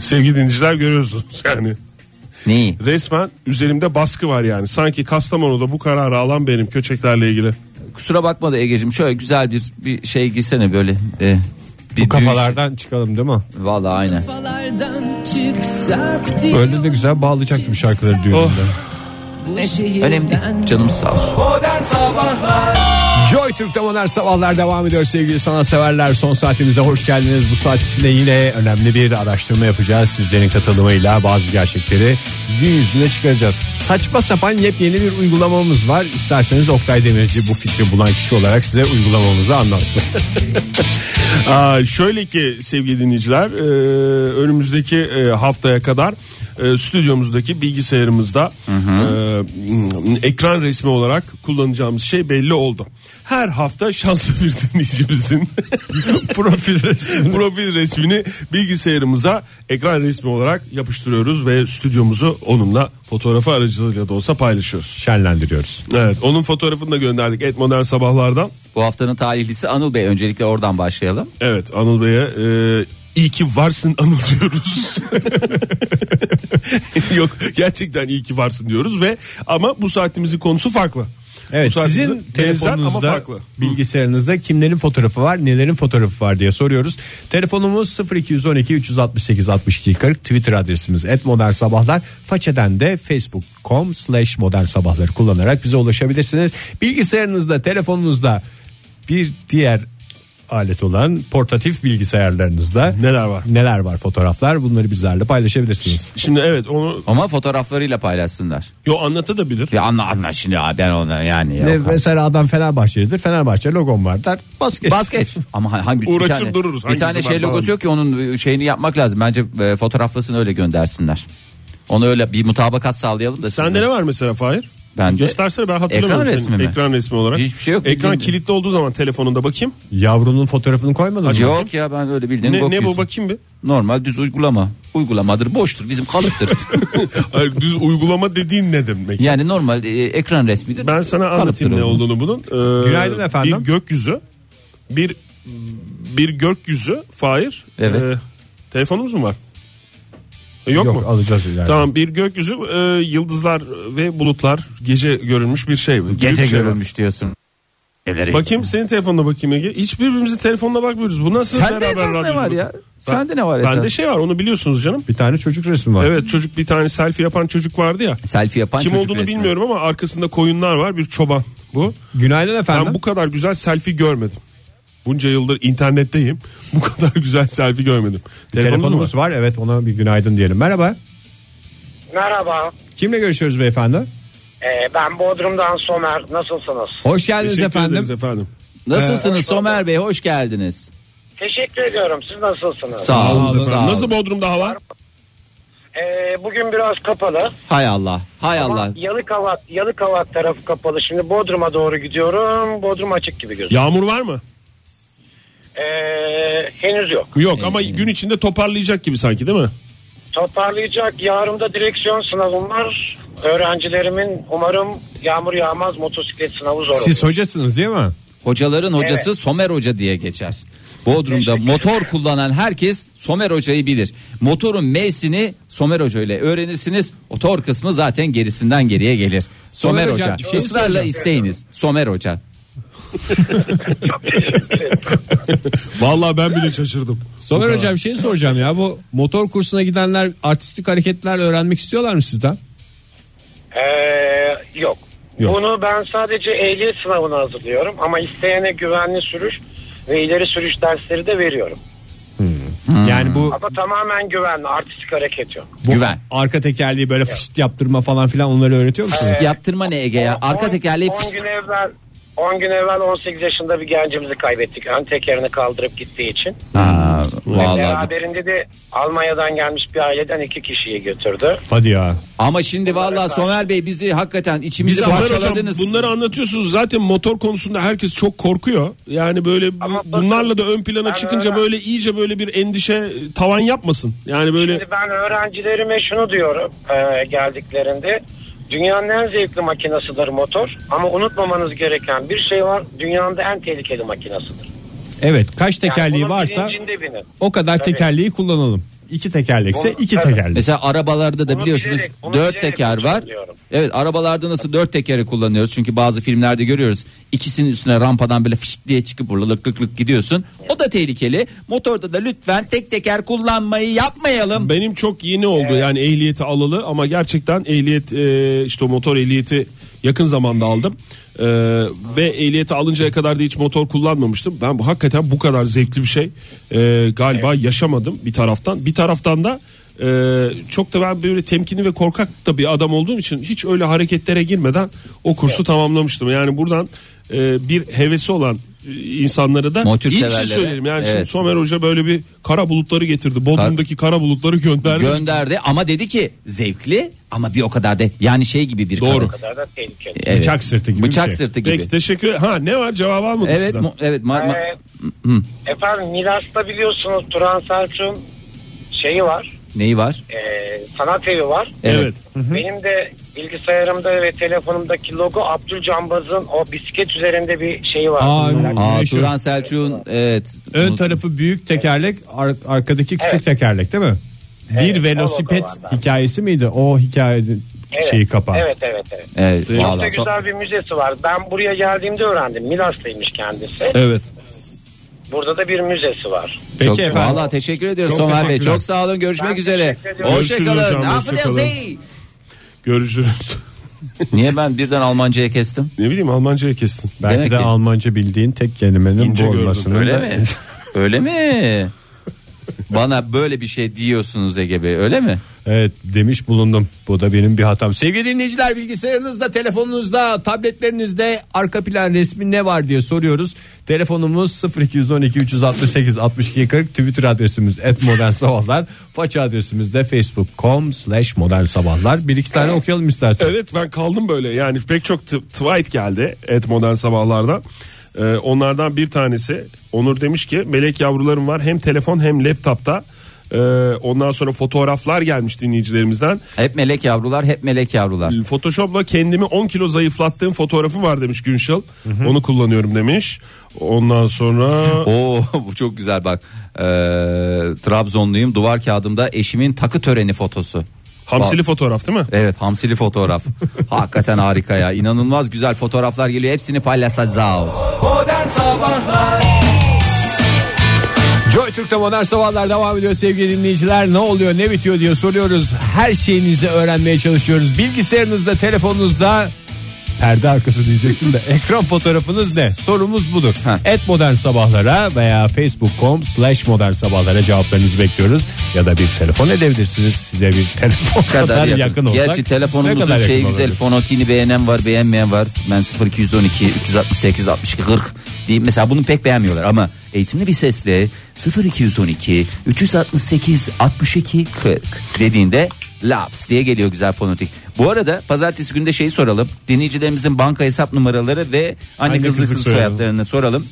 E: Sevgili dinleyiciler görüyorsunuz [LAUGHS] yani.
D: Neyi?
E: Resmen üzerimde baskı var yani. Sanki Kastamonu'da bu kararı alan benim köçeklerle ilgili.
D: Kusura bakma da Ege'cim şöyle güzel bir bir şey giysene böyle. e, bir
C: Bu kafalardan çıkalım değil mi?
D: düğün- Vallahi aynen.
G: Kafalardan çık serpti.
C: Öyle de güzel bağlayacaktım şarkıları düğününde.
E: Oh.
D: Neyse önemli değil. Canım sağ olsun.
B: Modern Sabahlar
C: Joy Türk'te modern sabahlar devam ediyor sevgili sanatseverler. Son saatimize hoş geldiniz. Bu saat içinde yine önemli bir araştırma yapacağız. Sizlerin katılımıyla bazı gerçekleri gün yüzüne çıkaracağız. Saçma sapan yepyeni bir uygulamamız var. İsterseniz Oktay Demirci bu fikri bulan kişi olarak size uygulamamızı anlatsın. [LAUGHS]
E: Aa, şöyle ki sevgili dinleyiciler e, önümüzdeki e, haftaya kadar e, stüdyomuzdaki bilgisayarımızda e, ekran resmi olarak kullanacağımız şey belli oldu. Her hafta şanslı bir [LAUGHS] dinleyicimizin profil resmini. profil resmini bilgisayarımıza ekran resmi olarak yapıştırıyoruz ve stüdyomuzu onunla fotoğrafı aracılığıyla da olsa paylaşıyoruz.
C: Şenlendiriyoruz.
E: Evet, onun fotoğrafını da gönderdik Et Modern Sabahlar'dan.
D: Bu haftanın talihlisi Anıl Bey. Öncelikle oradan başlayalım.
E: Evet Anıl Bey'e e, iyi ki varsın Anıl [LAUGHS] diyoruz. Yok gerçekten iyi ki varsın diyoruz ve ama bu saatimizin konusu farklı.
C: Evet
E: Bu saatimizi
C: sizin
E: benzer ama
C: telefonunuzda
E: farklı.
C: bilgisayarınızda kimlerin fotoğrafı var nelerin fotoğrafı var diye soruyoruz. Telefonumuz 0212 368 62 40 Twitter adresimiz et sabahlar. Façeden de facebook.com slash modern sabahları kullanarak bize ulaşabilirsiniz. Bilgisayarınızda telefonunuzda bir diğer alet olan portatif bilgisayarlarınızda
E: Neler var?
C: neler var fotoğraflar bunları bizlerle paylaşabilirsiniz.
E: Şimdi evet onu
D: Ama fotoğraflarıyla paylaşsınlar.
E: yo anlata da bilir.
D: Ya anla anla şimdi abi ben ona yani. Ya,
C: Ve mesela adam Fenerbahçelidir. Fenerbahçe logom var der. Bas geç.
D: Bas geç. Ama ha- hangi
E: Uğraşır
D: bir tane,
E: dururuz.
D: Bir
E: Hangisi
D: tane
E: var
D: şey logosu
E: falan.
D: yok ki onun e, şeyini yapmak lazım. Bence e, fotoğraflasını öyle göndersinler. Onu öyle bir mutabakat sağlayalım da.
E: Sende
D: sizinle.
E: ne var mesela Fahir?
D: Bende-
E: Göstersene ben hatırlamıyorum.
D: Ekran
E: senin
D: resmi mi?
E: Ekran resmi olarak.
D: Hiçbir şey yok.
E: Ekran
D: Bildiğin-
E: kilitli olduğu zaman telefonunda bakayım.
C: Yavrunun fotoğrafını koymadın mı?
D: Yok ya ben öyle bildiğin
E: Ne,
D: bok
E: ne bu
D: yüzüm.
E: bakayım bir.
D: Normal düz uygulama. Uygulamadır boştur bizim kalıptır.
E: [LAUGHS] Hayır, düz uygulama dediğin ne demek?
D: yani normal e, ekran resmidir.
E: Ben sana
D: kalıptır
E: anlatayım ne
D: onun.
E: olduğunu bunun. Ee,
C: Günaydın efendim.
E: Bir gökyüzü. Bir bir gökyüzü Fahir.
D: Evet.
E: Ee, telefonumuz mu var? Ee, Yok, mu?
C: alacağız ileride.
E: Tamam bir gökyüzü e, yıldızlar ve bulutlar gece görülmüş bir şey. Büyük bir
D: Gece
E: şey var.
D: görülmüş diyorsun. Neleri-
E: Bakayım senin telefonuna bakayım Ege. Hiçbirbirimizin telefonuna bakmıyoruz. Bu nasıl
D: Sende
E: beraber
D: esas ne
E: radyoculuk?
D: var ya? Sende ne var
E: Bende
D: esas?
E: şey var onu biliyorsunuz canım.
C: Bir tane çocuk resmi var.
E: Evet çocuk bir tane selfie yapan çocuk vardı ya.
D: Selfie yapan
E: Kim
D: çocuk
E: olduğunu
D: resmi.
E: bilmiyorum ama arkasında koyunlar var bir çoban bu.
C: Günaydın efendim.
E: Ben bu kadar güzel selfie görmedim. Bunca yıldır internetteyim. Bu kadar güzel selfie görmedim. Telefonumuz
C: Telefonumuz
E: var.
C: var. Evet ona bir günaydın diyelim. Merhaba.
L: Merhaba.
C: Kimle görüşüyoruz beyefendi?
L: Ee, ben Bodrum'dan Somer. Nasılsınız?
C: Hoş geldiniz
E: Teşekkür
C: efendim.
E: ederiz efendim. Ee,
D: Nasılsınız Somer Bey hoş geldiniz.
L: Teşekkür ediyorum. Siz nasılsınız?
D: Sağ olun. Sağ olun.
E: Nasıl Bodrum'da hava?
L: Ee, bugün biraz kapalı.
D: Hay Allah. Hay Allah.
L: Ama Yalıkavak, Yalıkavak tarafı kapalı. Şimdi Bodrum'a doğru gidiyorum. Bodrum açık gibi gözüküyor.
E: Yağmur var mı?
L: Ee, henüz yok.
E: Yok ama gün içinde toparlayacak gibi sanki değil mi?
L: Toparlayacak. Yarın da direksiyon sınavım var. Öğrencilerimin umarım yağmur yağmaz motosiklet sınavı zor
C: Siz
L: olur.
C: hocasınız değil mi?
D: Hocaların hocası Somer Hoca diye geçer. Bodrum'da motor kullanan herkes Somer Hoca'yı bilir. Motorun M'sini Somer Hoca ile öğrenirsiniz. Motor kısmı zaten gerisinden geriye gelir. Somer,
C: Somer
D: Hoca.
C: Hocam, bir şey
D: ısrarla isteyiniz. Somer Hoca.
E: Vallahi ben bile şaşırdım.
C: Soner hocam şey soracağım ya bu motor kursuna gidenler artistik hareketler öğrenmek istiyorlar mı sizden?
L: Ee, yok.
C: Yok.
L: Bunu ben sadece ehliyet sınavına hazırlıyorum. Ama isteyene güvenli sürüş ve ileri sürüş dersleri de veriyorum.
C: Yani bu,
L: Ama tamamen güvenli. Artistik hareket yok.
C: bu
D: Güven.
C: arka tekerleği böyle fışt yaptırma falan filan onları öğretiyor musunuz?
D: Yaptırma ne Ege ya? Arka tekerleği fıs-
L: 10 gün evvel 10 gün evvel 18 yaşında bir gencimizi kaybettik. Ön tekerini kaldırıp gittiği için.
D: Aa, vallahi.
L: Beraberinde de Almanya'dan gelmiş bir aileden iki kişiyi götürdü.
C: Hadi ya.
D: Ama şimdi vallahi Somer Bey bizi hakikaten içimizi
E: Biz
D: parçaladınız.
E: bunları anlatıyorsunuz zaten motor konusunda herkes çok korkuyor. Yani böyle bu-
L: Ama bakın,
E: bunlarla da ön plana
L: ben
E: çıkınca
L: öyle-
E: böyle iyice böyle bir endişe tavan yapmasın. Yani böyle
L: Şimdi ben öğrencilerime şunu diyorum e, geldiklerinde. Dünyanın en zevkli makinesidir motor. Ama unutmamanız gereken bir şey var. Dünyanın da en tehlikeli makinesidir.
C: Evet kaç
L: Yani
C: tekerleği
L: bunun
C: varsa
L: bilincinde binin.
C: o kadar
L: Tabii.
C: tekerleği kullanalım. İki tekerlekse
L: Bunu-
C: iki
L: Evet.
C: tekerlek.
D: Mesela arabalarda da
L: Bunu
D: biliyorsunuz
L: bilerek, bunu
D: dört
L: bilerek
D: teker var.
L: söylüyorum.
D: Evet arabalarda nasıl dört tekeri kullanıyoruz? Çünkü bazı filmlerde görüyoruz. İkisinin üstüne rampadan böyle fışt diye çıkıp burada lık lık lık gidiyorsun. O da tehlikeli. Motorda da lütfen tek teker kullanmayı yapmayalım.
E: Benim çok yeni oldu yani ehliyeti alalı ama gerçekten ehliyet e, işte o motor ehliyeti yakın zamanda aldım. E, ve ehliyeti alıncaya kadar da hiç motor kullanmamıştım. Ben bu hakikaten bu kadar zevkli bir şey e, galiba yaşamadım bir taraftan. Bir taraftan da e, çok da ben böyle temkinli ve korkak da bir adam olduğum için hiç öyle hareketlere girmeden o kursu tamamlamıştım. Yani buradan e, bir hevesi olan e, insanlara da iyi
D: Motor
E: bir şey
D: severlere.
E: söyleyelim. Yani şimdi
D: Evet.
E: Somer Hoca böyle bir kara bulutları getirdi. Bodrum'daki kara bulutları gönderdi.
D: Gönderdi ama dedi ki zevkli ama bir o kadar da yani şey gibi bir
E: Doğru.
D: kadın.
L: O kadar da tehlikeli.
D: Evet.
C: Bıçak sırtı gibi bir
D: Bıçak
C: şey.
D: sırtı gibi.
E: Peki teşekkür Ha ne var cevap almadı
D: Evet,
E: sizden.
D: mu- evet. ma- ma-
L: Ee, Efendim Milas'ta biliyorsunuz Turan Selçuk'un şeyi var.
D: neyi var?
L: ee, sanat evi var.
E: Evet.
L: Benim de bilgisayarımda ve telefonumdaki logo Abdülcambaz'ın o bisiklet üzerinde bir şeyi var.
C: Aa,
L: Merak-
D: Aa,
C: Meşhur.
D: Turan Selçuk'un evet.
C: Ön
D: unuttum.
C: tarafı büyük tekerlek, ar- arkadaki küçük
L: Evet.
C: tekerlek değil mi? Bir
L: Evet, o
C: velosiped
L: logo var bende.
C: hikayesi miydi? O hikaye
M: Evet,
C: şeyi kapağı.
M: Evet evet evet.
D: Evet,
M: Çok da
D: vallahi so-
M: güzel bir müzesi var. Ben buraya geldiğimde öğrendim. Milas'taymış kendisi.
C: Evet.
M: Burada da bir müzesi var.
C: Peki
D: çok,
C: efendim.
D: Vallahi teşekkür ediyoruz
C: Çok
D: Somer Bey.
C: teşekkürler.
D: Çok sağ olun. Görüşmek
M: Ben
D: üzere.
M: teşekkür ediyorum.
E: Görüşürüz
D: Hoşçakalın.
E: hocam,
D: Ne yapıyorsun?
E: hoşça kalın. Görüşürüz.
D: [LAUGHS] Niye ben birden Almanca'ya kestim?
E: ne bileyim Almanca'ya kestin.
C: Belki
D: Demek
C: de
D: ki-
C: Almanca bildiğin tek kelimenin
E: İnce
C: bu
E: gördüm,
C: olmasının
D: Öyle
C: da-
D: mi? [LAUGHS] öyle mi? Bana böyle bir şey diyorsunuz Ege Bey öyle mi?
C: Evet demiş bulundum. Bu da benim bir hatam. Sevgili dinleyiciler
N: Bilgisayarınızda, telefonunuzda, tabletlerinizde arka plan resmi ne var diye soruyoruz.
C: telefonumuz 0212 368 62 40 Twitter adresimiz et modern sabahlar. Faça adresimiz de facebook.com slash modern sabahlar. Bir iki tane okuyalım istersen.
E: Evet ben kaldım böyle yani pek çok t- tweet geldi et modern sabahlardan. Ee, onlardan bir tanesi Onur demiş ki melek yavrularım var hem telefon hem laptopta. Ee, ondan sonra fotoğraflar gelmiş dinleyicilerimizden.
D: Hep melek yavrular hep melek yavrular.
E: Photoshop'la kendimi 10 kilo zayıflattığım fotoğrafı var demiş Günşal. Onu kullanıyorum demiş. Ondan
D: [LAUGHS]
E: sonra
D: Oo bu çok güzel bak. Ee, Trabzonluyum duvar kağıdımda eşimin takı töreni fotosu.
E: hamsili fotoğraf değil mi?
D: Evet hamsili [LAUGHS] fotoğraf. Hakikaten harika ya. İnanılmaz güzel fotoğraflar geliyor. Hepsini paylaşacağız.
B: Modern Sabahlar
N: Joy Türk'te modern sabahlar devam ediyor sevgili dinleyiciler. Ne oluyor ne bitiyor diye soruyoruz. Her şeyinizi öğrenmeye çalışıyoruz. Bilgisayarınızda, telefonunuzda perde arkası
D: [LAUGHS]
N: diyecektim de ekran fotoğrafınız ne? Sorumuz budur.
D: Ha.
N: Et modern sabahlara veya facebook.com slash modern sabahlara cevaplarınızı bekliyoruz. Ya da bir telefon edebilirsiniz. Size bir telefon kadar, yakın, olsak.
D: Gerçi
N: ne
D: telefonumuzun
N: kadar
D: şey
N: yakın
D: güzel
N: olabilir?
D: fonotini beğenen var beğenmeyen var. Ben 0212 368 62 40 diyeyim. Mesela bunu pek beğenmiyorlar ama eğitimli bir sesle 0212 368 62 40 dediğinde laps diye geliyor güzel fonotik. Bu arada pazartesi günde şeyi soralım. Dinleyicilerimizin banka hesap numaraları ve anne,
C: Anne
D: kızlık
C: kızlık
D: kız
C: soyadı.
D: soyadlarını soralım.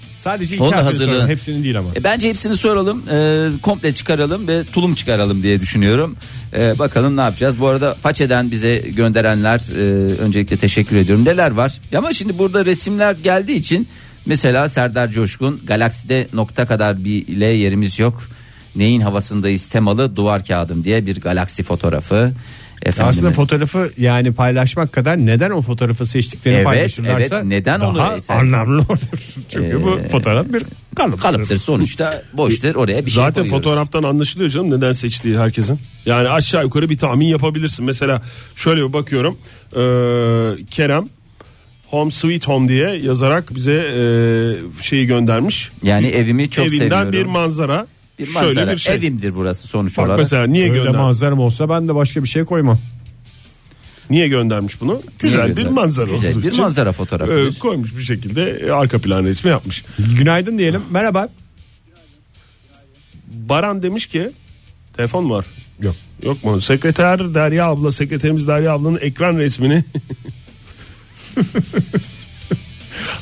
D: Onu
C: Sadece
D: da
C: iki harfini
D: hazırlığı-
C: soralım, Hepsini değil ama.
D: E, Bence hepsini soralım, e, komple çıkaralım ve tulum çıkaralım diye düşünüyorum. E, bakalım ne yapacağız. Bu arada façeden bize gönderenler e, öncelikle teşekkür ediyorum. Neler var? Ama şimdi burada resimler geldiği için mesela Serdar Coşkun galakside nokta kadar bile yerimiz yok. Neyin havasındayız temalı duvar kağıdım diye bir galaksi fotoğrafı. Efendim,
C: Aslında fotoğrafı yani paylaşmak kadar neden o fotoğrafı seçtiklerini
D: Evet,
C: paylaşırlarsa
D: evet. Neden
C: daha
D: onu eser-
C: anlamlı olur. [LAUGHS] Çünkü bu fotoğraf bir kalıp.
D: kalıptır sonuçta boştur oraya bir şey
E: Zaten
D: koyuyoruz.
E: fotoğraftan anlaşılıyor canım neden seçtiği herkesin. Yani aşağı yukarı bir tahmin yapabilirsin. Mesela şöyle bir bakıyorum. Ee, Kerem Home Sweet Home diye yazarak bize ee, şeyi göndermiş.
D: Yani evimi çok
E: Evinden
D: seviyorum.
E: bir manzara.
D: Bir manzara.
E: Şöyle bir şey.
D: Evimdir burası sonuç
E: Bak
D: olarak.
E: mesela niye
C: Öyle
E: göndermiş?
C: manzaram olsa ben de başka bir şey koymam.
E: Niye göndermiş bunu? Güzel bir
D: göndermiş?
E: manzara
D: Güzel
E: olduğu
D: bir
E: için,
D: manzara fotoğrafı.
E: e, koymuş bir şekilde e, arka plan resmi yapmış.
C: Günaydın diyelim. Merhaba.
E: Baran demiş ki telefon var.
C: Yok.
E: Yok mu? Sekreter Derya abla, sekreterimiz Derya ablanın ekran resmini.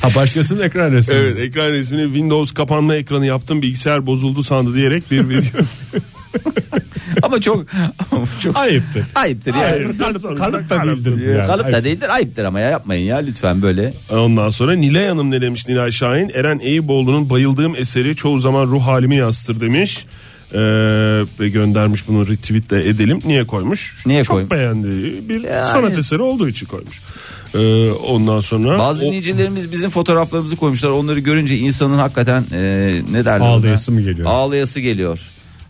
C: Ha başkasının ekran resmi.
E: evet, ekran resmini [LAUGHS] Windows kapanma ekranı yaptım. Bilgisayar bozuldu sandı diyerek bir video.
D: [LAUGHS] Ama çok ama çok
C: Ayıptır.
D: ayıptır ya.
E: Hayır,
C: Kalıp,
E: kalıp
C: kalıp da bildirdim yani.
D: Kalıp
C: Ayıp.
D: da değildir ayıptır ama ya yapmayın ya lütfen böyle.
E: Ondan sonra Nilay Hanım ne demiş Nilay Şahin? Eren Eyüboğlu'nun bayıldığım eseri çoğu zaman ruh halimi yansıtır demiş. Ee, ve göndermiş bunu retweetle edelim. Niye koymuş?
D: Niye
E: Çok
D: koymuş?
E: beğendiği bir
D: Yani-
E: sanat eseri olduğu için koymuş. Ee, ondan sonra
D: Bazı
E: o-
D: dinleyicilerimiz bizim fotoğraflarımızı koymuşlar. Onları görünce insanın hakikaten e, ne derler? ona?
C: Ağlayası mı geliyor?
D: Ağlayası geliyor.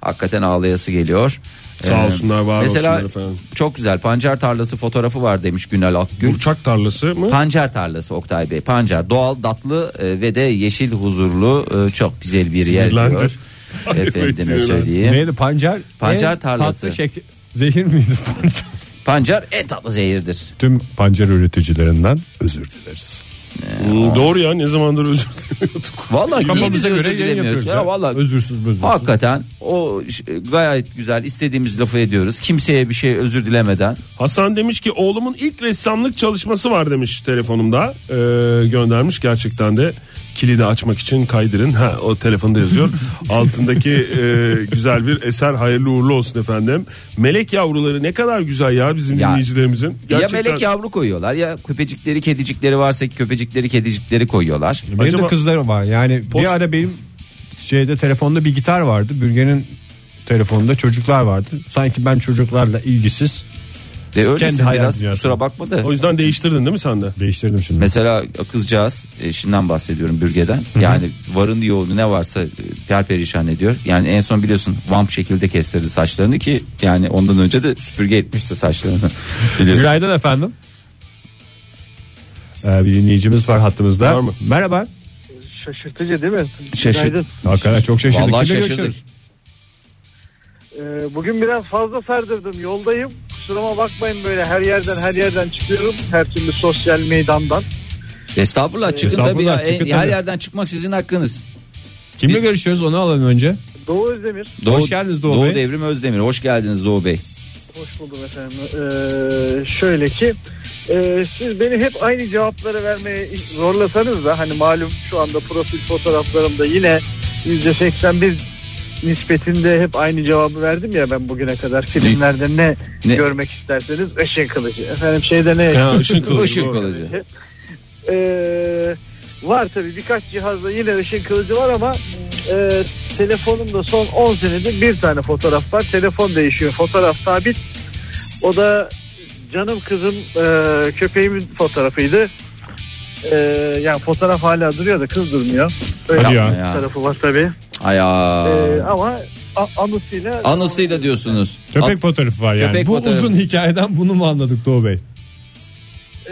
D: Hakikaten ağlayası geliyor. E,
E: Sağ olsunlar, var
D: mesela
E: olsunlar efendim.
D: çok güzel pancar tarlası fotoğrafı var demiş Günal Akgül.
E: Burçak tarlası mı?
D: Pancar tarlası Oktay Bey. Pancar doğal, tatlı e, ve de yeşil huzurlu e, çok güzel bir yer
E: Sinirlendim.
D: diyor.
E: Ay, evet,
D: Efendime
E: sinirlendim.
D: söyleyeyim.
C: Neydi pancar?
D: Pancar
C: En
D: tarlası.
C: Tatlı şek- Zehir miydi pancar?
D: Pancar en tatlı zehirdir.
C: Tüm pancar üreticilerinden özür dileriz.
E: Hmm, doğru ya ne zamandır özür diliyorduk.
D: Vallahi niye biz
C: Kafamıza
D: özür
C: göre yayın
D: dilemiyoruz ya,
C: yapıyoruz.
D: vallahi
C: Özürsüz özürsüz.
D: hakikaten o iş- gayet güzel istediğimiz lafı ediyoruz. Kimseye bir şey özür dilemeden.
E: Hasan demiş ki oğlumun ilk ressamlık çalışması var demiş telefonumda. Ee, göndermiş gerçekten de kilidi açmak için kaydırın. Ha o telefonda
C: [LAUGHS]
E: yazıyor. Altındaki e, güzel bir eser hayırlı uğurlu olsun efendim. Melek yavruları ne kadar güzel ya bizim
D: Ya-
E: dinleyicilerimizin. Gerçekten
D: Ya melek yavru koyuyorlar ya köpecikleri kedicikleri varsa ki köpecikleri kedicikleri koyuyorlar.
C: Benim
E: Acaba-
C: de kızlarım var. Yani
E: Post-
C: bir ara benim şeyde telefonda bir gitar vardı. Bürge'nin telefonunda çocuklar vardı. Sanki ben çocuklarla ilgisiz
D: E, öylesin
C: hayal
D: biraz
C: dünyası.
D: kusura bakma da.
E: O yüzden değiştirdin değil mi sen de?
C: Değiştirdim şimdi.
D: Mesela kızcağız eşinden bahsediyorum bürgeden. Yani varın yoğunu ne varsa e, perperişan ediyor. Yani en son biliyorsun vamp şekilde kestirdi saçlarını ki yani ondan önce de süpürge etmişti
C: [LAUGHS]
D: saçlarını. Biliyorsun.
C: Günaydın efendim. Ee, bir dinleyicimiz var hattımızda. Merhaba.
O: Şaşırtıcı değil mi?
D: Şaşır-
O: Günaydın.
C: Hakikaten çok şaşırdık.
D: Vallahi
C: Kimle
D: şaşırdık.
C: görüşüyoruz?
O: Ee, bugün biraz fazla serdırdım. Yoldayım. Kusuruma bakmayın böyle her yerden her yerden çıkıyorum. Her türlü sosyal meydandan.
D: Estağfurullah çıkın tabii
C: Estağfurullah,
D: ya.
C: çıkın
D: En- her
C: tabii.
D: yerden çıkmak sizin hakkınız.
C: Kimle görüşüyoruz onu alalım önce.
O: Doğu Özdemir.
C: Hoş geldiniz Doğu Bey.
D: Devrim Özdemir. Hoş geldiniz Doğu Bey.
O: Hoş buldum efendim. Ee, şöyle ki e, siz beni hep aynı cevapları vermeye zorlasanız da hani malum şu anda profil fotoğraflarımda yine %81 nispetinde hep aynı cevabı verdim ya ben bugüne kadar filmlerde ne,
D: Ne?
O: görmek isterseniz ışın kılıcı efendim şeyde ne
E: Ya, ışın kılıcı.
D: Işık
E: doğru.
D: kalıcı.
O: Ee, var tabii birkaç cihazda yine ışın kılıcı var ama e, telefonumda son 10 senedir bir tane fotoğraf var. Telefon değişiyor. Fotoğraf sabit. O da canım kızım e, köpeğimin fotoğrafıydı. E, yani fotoğraf hala duruyor da kız durmuyor. Öyle
C: Hadi ya.
O: bir tarafı var tabii.
D: Ay ya.
O: E, ama a- anısıyla
D: Anısıyla diyorsunuz.
C: Ee, Köpek
D: At-
C: fotoğrafı var yani.
D: Köpek
C: Bu
D: fotoğrafı.
C: uzun hikayeden bunu mu anladık Doğu Bey?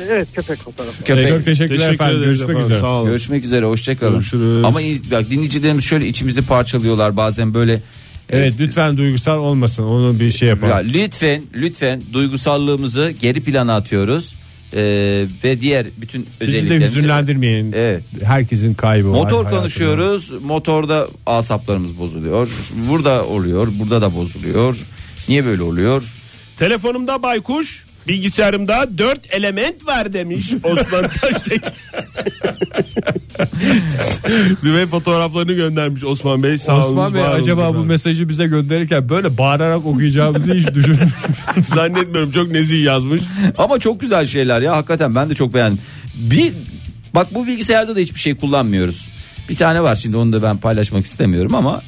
O: Evet köpek fotoğrafı.
D: köpek.
C: Çok teşekkürler
E: Teşekkür
C: efendim.
E: ederiz
C: Görüşmek
E: efendim,
C: üzere.
E: Sağ olun.
D: Görüşmek üzere hoşçakalın.
E: Görüşürüz.
D: Ama iz- bak, dinleyicilerimiz şöyle içimizi parçalıyorlar bazen böyle.
C: Evet lütfen duygusal olmasın. Onu bir şey
D: Ya,
C: yapalım.
D: lütfen lütfen duygusallığımızı geri plana atıyoruz. Ee, ve diğer bütün
C: Bizi de
D: özelliklerimizi.
C: hüzünlendirmeyin.
D: Evet.
C: Herkesin kaybı var.
D: Motor
C: hayatında.
D: konuşuyoruz. Motorda asaplarımız bozuluyor. Burada oluyor, burada da bozuluyor. Niye böyle oluyor?
E: Telefonumda baykuş, bilgisayarımda dört element var demiş [LAUGHS] Osman Taştek. Düve fotoğraflarını göndermiş Osman Bey. Sağ
C: Osman
E: olunuz,
C: Bey
E: var olunuz
C: acaba bu
E: efendim.
C: mesajı bize gönderirken böyle bağırarak okuyacağımızı hiç düşünmüyorum.
E: Zannetmiyorum çok nezih yazmış.
D: Ama çok güzel şeyler ya hakikaten ben de çok beğendim. Bir bak bu bilgisayarda da hiçbir şey kullanmıyoruz. Bir tane var şimdi onu da ben paylaşmak istemiyorum ama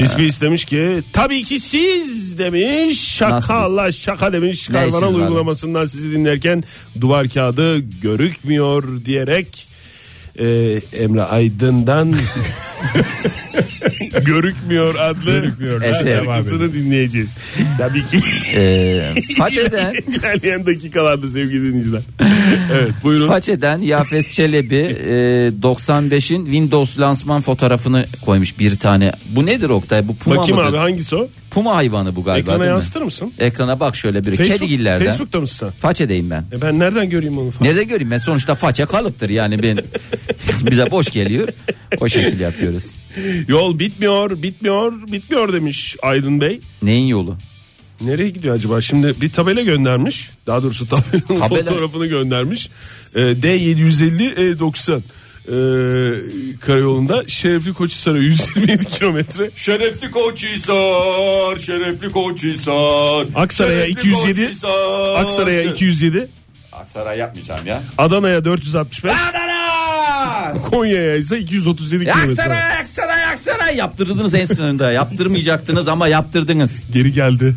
E: İsmi istemiş ki tabii ki siz demiş şaka
D: Nasıl?
E: Allah şaka demiş
D: Ne işiniz
E: karvanal
D: var?
E: uygulamasından sizi dinlerken duvar kağıdı görükmüyor diyerek e, Emre Aydın'dan [LAUGHS] görükmüyor adlı
D: Eser.
E: şarkısını dinleyeceğiz. Tabii ki
D: e,
E: [LAUGHS]
D: façeden
E: ilerleyen dakikalarda sevgili dinleyiciler. Evet buyurun.
D: façeden Yafet Çelebi e, 95'in Windows lansman fotoğrafını koymuş bir tane. Bu nedir Oktay? Bu puma
E: Bakayım
D: mıdır?
E: abi hangisi o?
D: Puma hayvanı bu galiba.
E: Ekrana
D: değil mi?
E: yansıtır mısın?
D: Ekrana bak şöyle bir
E: Facebook-
D: kedigillerden.
E: Facebook'ta mısın sen?
D: Façedeyim ben.
E: E ben nereden göreyim onu falan?
D: Nerede göreyim ben sonuçta faça kalıptır yani ben [LAUGHS] bize boş geliyor. O şekil yapıyoruz.
E: Yol bitmiyor, bitmiyor, bitmiyor demiş Aydın Bey.
D: Neyin yolu?
E: Nereye gidiyor acaba? Şimdi bir tabela göndermiş. Daha doğrusu tabelanın
D: Tabela.
E: fotoğrafını göndermiş. Ee, D750 E90 ee, karayolunda Şerefli Koçhisar'a 127 kilometre.
A: Şerefli Koçhisar, Şerefli Koçhisar.
E: Aksaray'a 207. Aksaray'a 207.
D: Aksaray yapmayacağım ya.
E: Adana'ya 465. Ah! Konya'ya ise 237 kilometre.
D: Aksaray, Aksaray, Aksaray yaptırdınız en sonunda. Yaptırmayacaktınız ama yaptırdınız.
E: Geri geldi.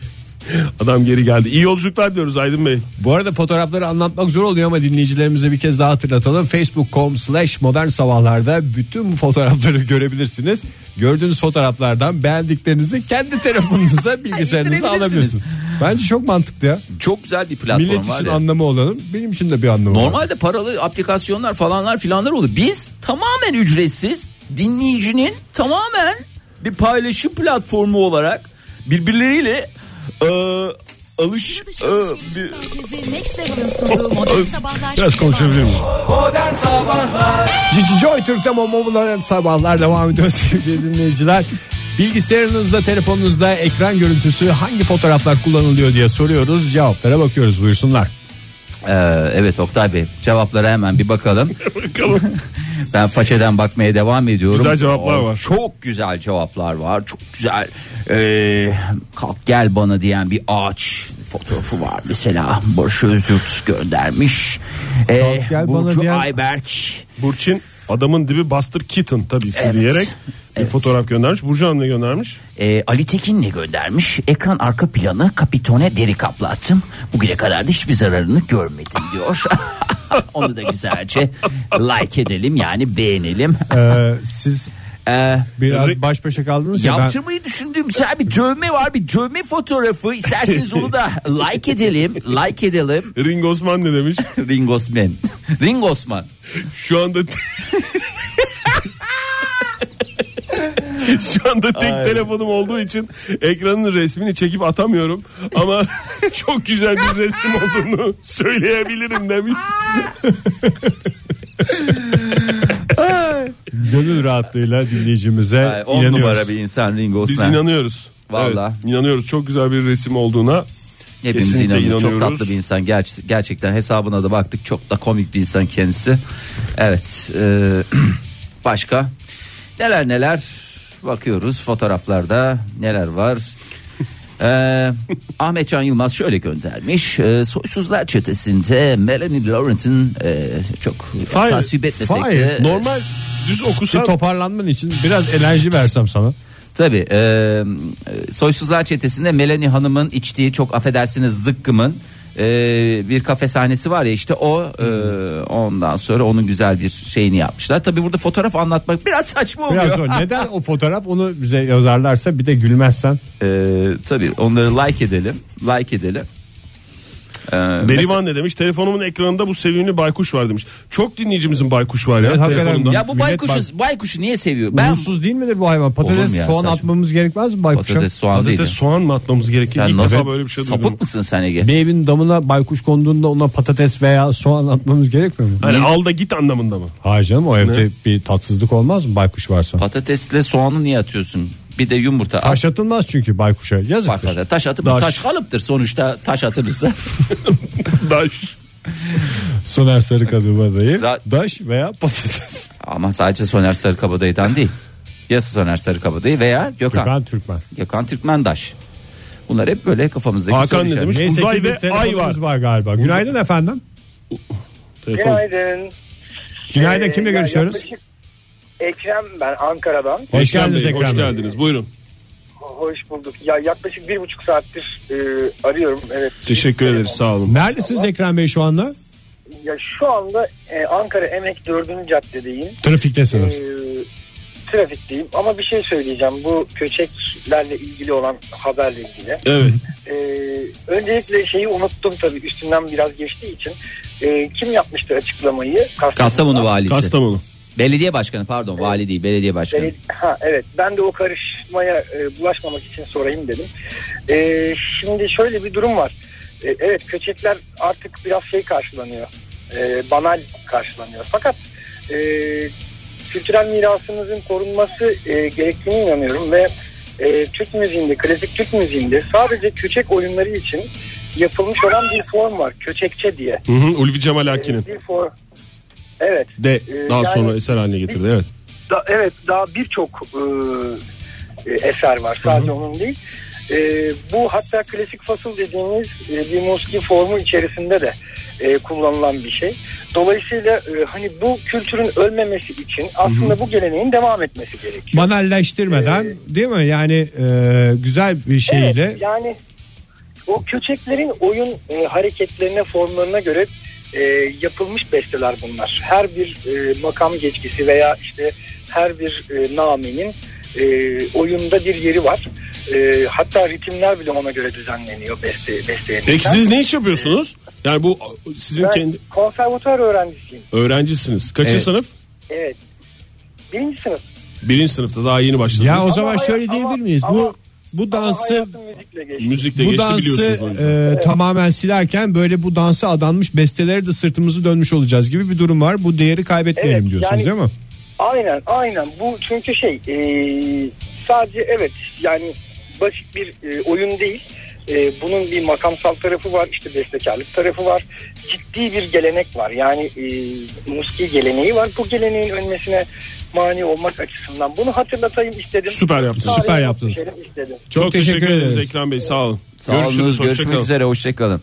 E: Adam geri geldi. İyi yolculuklar diyoruz Aydın Bey.
C: [LAUGHS] Bu arada fotoğrafları anlatmak zor oluyor ama dinleyicilerimize bir kez daha hatırlatalım. Facebook.com slash modern sabahlarda bütün bu fotoğrafları görebilirsiniz. Gördüğünüz fotoğraflardan beğendiklerinizi kendi [LAUGHS] telefonunuza bilgisayarınıza
D: İndirebilirsiniz.
C: alabilirsiniz. Bence çok mantıklı ya.
D: Çok güzel bir platform
C: Millet
D: var
C: için
D: ya.
C: anlamı olanın benim için de bir anlamı var.
D: Normalde paralı aplikasyonlar falanlar filanlar olur. Biz tamamen ücretsiz dinleyicinin tamamen bir paylaşım platformu olarak birbirleriyle e, alış
E: Ee,
D: e, bir-
E: Biraz konuşabilir miyiz?
B: Modern Sabahlar
C: Cici Joy Türk'te Momo'ların sabahlar devam ediyor [LAUGHS] sevgili dinleyiciler. Bilgisayarınızda, telefonunuzda ekran görüntüsü hangi fotoğraflar kullanılıyor diye soruyoruz. Cevaplara bakıyoruz buyursunlar.
D: Ee, evet Oktay Bey cevaplara hemen bir bakalım.
E: [LAUGHS] Bakalım.
D: [LAUGHS] Ben façeden bakmaya devam ediyorum.
E: Güzel cevaplar var.
D: Çok güzel cevaplar var. Çok güzel. Ee, kalk gel bana diyen bir ağaç fotoğrafı var. Mesela Barış Özyurt göndermiş. Ee,
C: Kalk gel
D: Burcu
C: bana diyen-
D: Ayberk.
E: Burçin Adamın dibi Buster Keaton tabii
D: Evet.
E: diyerek bir
D: Evet.
E: fotoğraf göndermiş. Burcu Hanım ne göndermiş?
D: Ee, Ali Tekin ne göndermiş? Ekran arka planı kapitone deri kaplı attım. Bugüne kadar da hiçbir zararını görmedim diyor. [LAUGHS] Onu da güzelce like edelim yani beğenelim. [LAUGHS]
C: Ee, siz
D: Ee,
C: [LAUGHS] biraz baş başa kaldınız ya. Ben,
D: Yaptırmayı düşündüğüm güzel bir dövme var bir dövme fotoğrafı isterseniz onu da like edelim like edelim
E: Ringo Osman ne demiş?
D: Ring Osman Ring Osman
E: Şu anda
D: [LAUGHS]
E: Şu anda tek telefonum olduğu için ekranın resmini çekip atamıyorum ama [LAUGHS] çok güzel bir resim olduğunu söyleyebilirim demiş.
C: gönül rahatlığıyla dinleyicimize
D: Ay, Ee, on
C: inanıyoruz.
D: numara bir insan Ring
E: Biz
D: Osman
E: inanıyoruz.
D: Vallahi.
E: Evet, inanıyoruz. Çok güzel bir resim olduğuna.
D: hepimiz
E: kesinlikle
D: inanıyoruz çok
E: inanıyoruz.
D: tatlı bir insan Ger- gerçekten hesabına da baktık çok da komik bir insan kendisi evet e, [CLEARS THROAT] başka neler neler bakıyoruz fotoğraflarda
E: [LAUGHS]
D: neler var Ee, Ahmet Can Yılmaz şöyle göndermiş. Ee, Soysuzlar çetesinde Melanie Laurent'in e, çok
E: Hayır,
D: tasvip etmesek
C: hayır,
D: de
E: Normal düz
C: Bir
E: okusan
C: toparlanman için biraz enerji versem sana.
D: Tabii e, Soysuzlar Çetesi'nde Melanie Hanım'ın içtiği çok affedersiniz zıkkımın e, bir kafe sahnesi var ya işte o e, ondan sonra onun güzel bir şeyini yapmışlar. Tabii burada fotoğraf anlatmak biraz saçma oluyor.
C: Biraz zor. [LAUGHS] Neden o fotoğraf onu bize yazarlarsa bir de gülmezsen.
D: E, tabii onları like edelim like edelim. E,
E: Berivan ne demiş? Telefonumun ekranında bu sevimli baykuş var demiş. Çok dinleyicimizin baykuş var ya
C: Evet, hakikaten.
E: telefonunda.
D: ya bu
C: Millet
D: baykuşu, baykuşu niye seviyor?
C: Ben...
D: Ben
C: Uğursuz değil midir bu hayvan?
D: Olur
C: Patates
D: mu ya,
C: soğan
D: saçma.
C: atmamız gerekmez mi baykuşa?
D: patates soğan değil.
E: Patates soğan mı atmamız gerekir?
D: Sen
E: İlk
D: nasıl
E: defa böyle bir şey duydum.
D: sapık mısın sen Ege?
C: Bir evin damına baykuş konduğunda ona patates veya soğan atmamız gerekmiyor mu?
E: Hani al da git anlamında mı?
C: Hayır canım o evde bir tatsızlık olmaz mı baykuş varsa?
D: Patatesle soğanı niye atıyorsun? Bir de yumurta at.
C: Taş atılmaz çünkü baykuşa yazıktır.
D: Patatesi. Taş atıp
C: Taş.
D: taş kalıptır sonuçta taş atılırsa.
E: Daş.
C: Soner Sarıkadımadayı
D: Za-
C: daş veya [LAUGHS] patates.
D: Ama sadece Soner Sarıkabadayı'dan değil. Ya Soner Sarıkabadayı veya Gökhan. Gökhan,
C: Gökhan Türkmen.
D: Türkmendaş. Bunlar hep böyle kafamızdaki
E: Hakan ne
D: söyleyeceğim.
E: demiş?
C: Neyse
E: Uzay
C: ki bir
E: ve
C: telefonumuz
E: ay var.
C: galiba. Günaydın efendim.
E: Telefon.
L: Günaydın.
C: Günaydın
L: Ee,
C: kimle
L: ya
C: görüşüyoruz?
L: yaklaşık- Ekrem ben Ankara'dan.
C: Hoş
E: Ekrem
C: geldiniz
E: Bey,
C: Ekrem
E: Hoş
C: Bey.
E: geldiniz. Buyurun.
L: Hoş bulduk. Ya yaklaşık bir buçuk saattir e, arıyorum. Evet.
E: Teşekkür ederiz. Sağ olun.
C: Neredesiniz Ekrem Bey şu anda?
L: Ya şu anda e, Ankara Emek 4. Cadde'deyim. E,
C: Trafiktesiniz.
L: trafikteyim ama bir şey söyleyeceğim. Bu köçeklerle ilgili olan haberle ilgili.
E: Evet.
L: E, öncelikle şeyi unuttum tabii üstünden biraz geçtiği için. E, kim yapmıştı açıklamayı?
D: Kastamonu valisi.
E: Kastamonu.
D: Belediye başkanı pardon vali değil belediye başkanı.
L: Beledi- ha, evet ben de o karışmaya e, bulaşmamak için sorayım dedim. E, şimdi şöyle bir durum var. E, evet köçekler artık biraz şey karşılanıyor. E, banal karşılanıyor. Fakat e, kültürel mirasımızın korunması e, gerektiğine inanıyorum ve e, Türk müziğinde, klasik Türk müziğinde sadece köçek oyunları için yapılmış olan bir form var. Köçekçe diye.
E: Hı hı, Ulvi Cemal
L: E,
E: Akkin'in
L: bir form. Evet.
E: de
L: Ee,
E: daha
L: yani-
E: sonra eser haline getirdi. Evet.
L: Da, evet daha birçok e, e, eser var sadece onun değil. E, bu hatta klasik fasıl dediğimiz e, bir musiki formu içerisinde de e, kullanılan bir şey. Dolayısıyla e, hani bu kültürün ölmemesi için aslında bu geleneğin devam etmesi gerekiyor.
C: Banalleştirmeden değil mi? Yani e, güzel bir şeyle
L: Evet, yani o köçeklerin oyun e, hareketlerine, formlarına göre e, yapılmış besteler bunlar. Her bir e, makam geçkisi veya işte her bir e, namenin e, oyunda bir yeri var. E, hatta ritimler bile ona göre düzenleniyor beste, besteye.
E: Peki siz ne iş yapıyorsunuz? Yani bu sizin
L: Ben
E: kendi
L: konservatuar öğrencisiyim.
E: öğrencisiniz. Kaçıncı
D: Evet.
E: sınıf?
L: Evet. Birinci sınıf.
E: Birinci sınıfta daha yeni başladınız.
C: Ya o
L: Ama
C: zaman
L: hayat-
C: şöyle diyebilir
L: ama-
C: miyiz?
L: ama-
C: Bu bu dansı
L: Ama hayatım müzikle geçti.
E: Müzikle
C: bu
E: geçti
C: dansı
E: biliyorsunuz. o yüzden.
C: e, tamamen silerken böyle bu dansa adanmış bestelere de sırtımızı dönmüş olacağız gibi bir durum var. Bu değeri kaybetmeyelim
L: Evet,
C: diyorsunuz
L: yani-
C: değil mi?
L: Aynen aynen bu çünkü şey e, sadece evet yani basit bir e, oyun değil. E, bunun bir makamsal tarafı var işte bestekarlık tarafı var. Ciddi bir gelenek var yani e, musiki geleneği var. Bu geleneğin ölmesine mani olmak açısından bunu hatırlatayım istedim.
E: Süper yaptınız.
L: Tarihe
C: Süper yaptınız.
L: düşelim istedim.
C: Çok, teşekkür, ederiz.
E: Ekrem Bey sağ olun.
D: Sağ olunuz
E: hoşça
D: görüşmek
E: kalın.
D: üzere hoşçakalın.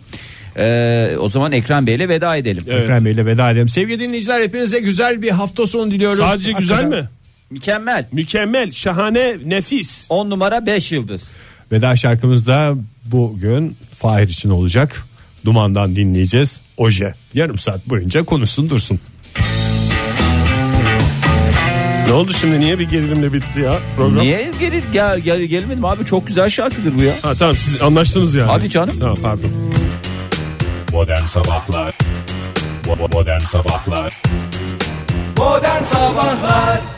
D: Ee, o zaman Ekrem Bey'le veda edelim.
C: Ekrem Bey'le veda edelim. Sevgili dinleyiciler hepinize güzel bir hafta sonu diliyoruz.
E: Sadece güzel
C: Hakikaten
E: mi?
D: Mükemmel.
E: Mükemmel, şahane, nefis.
D: 10 numara 5 yıldız.
C: Veda şarkımız da bugün Fahir için olacak. Dumandan dinleyeceğiz. Oje. Yarım saat boyunca konuşsun dursun.
E: Ne oldu şimdi niye bir gerilimle bitti ya program?
D: Niye gelir gel, gel gelmedim abi çok güzel şarkıdır bu ya.
E: Ha tamam siz anlaştınız yani.
D: Hadi canım.
E: Ha, pardon.
A: Modern Sabahlar Bo- bo- Modern Sabahlar
B: Modern Sabahlar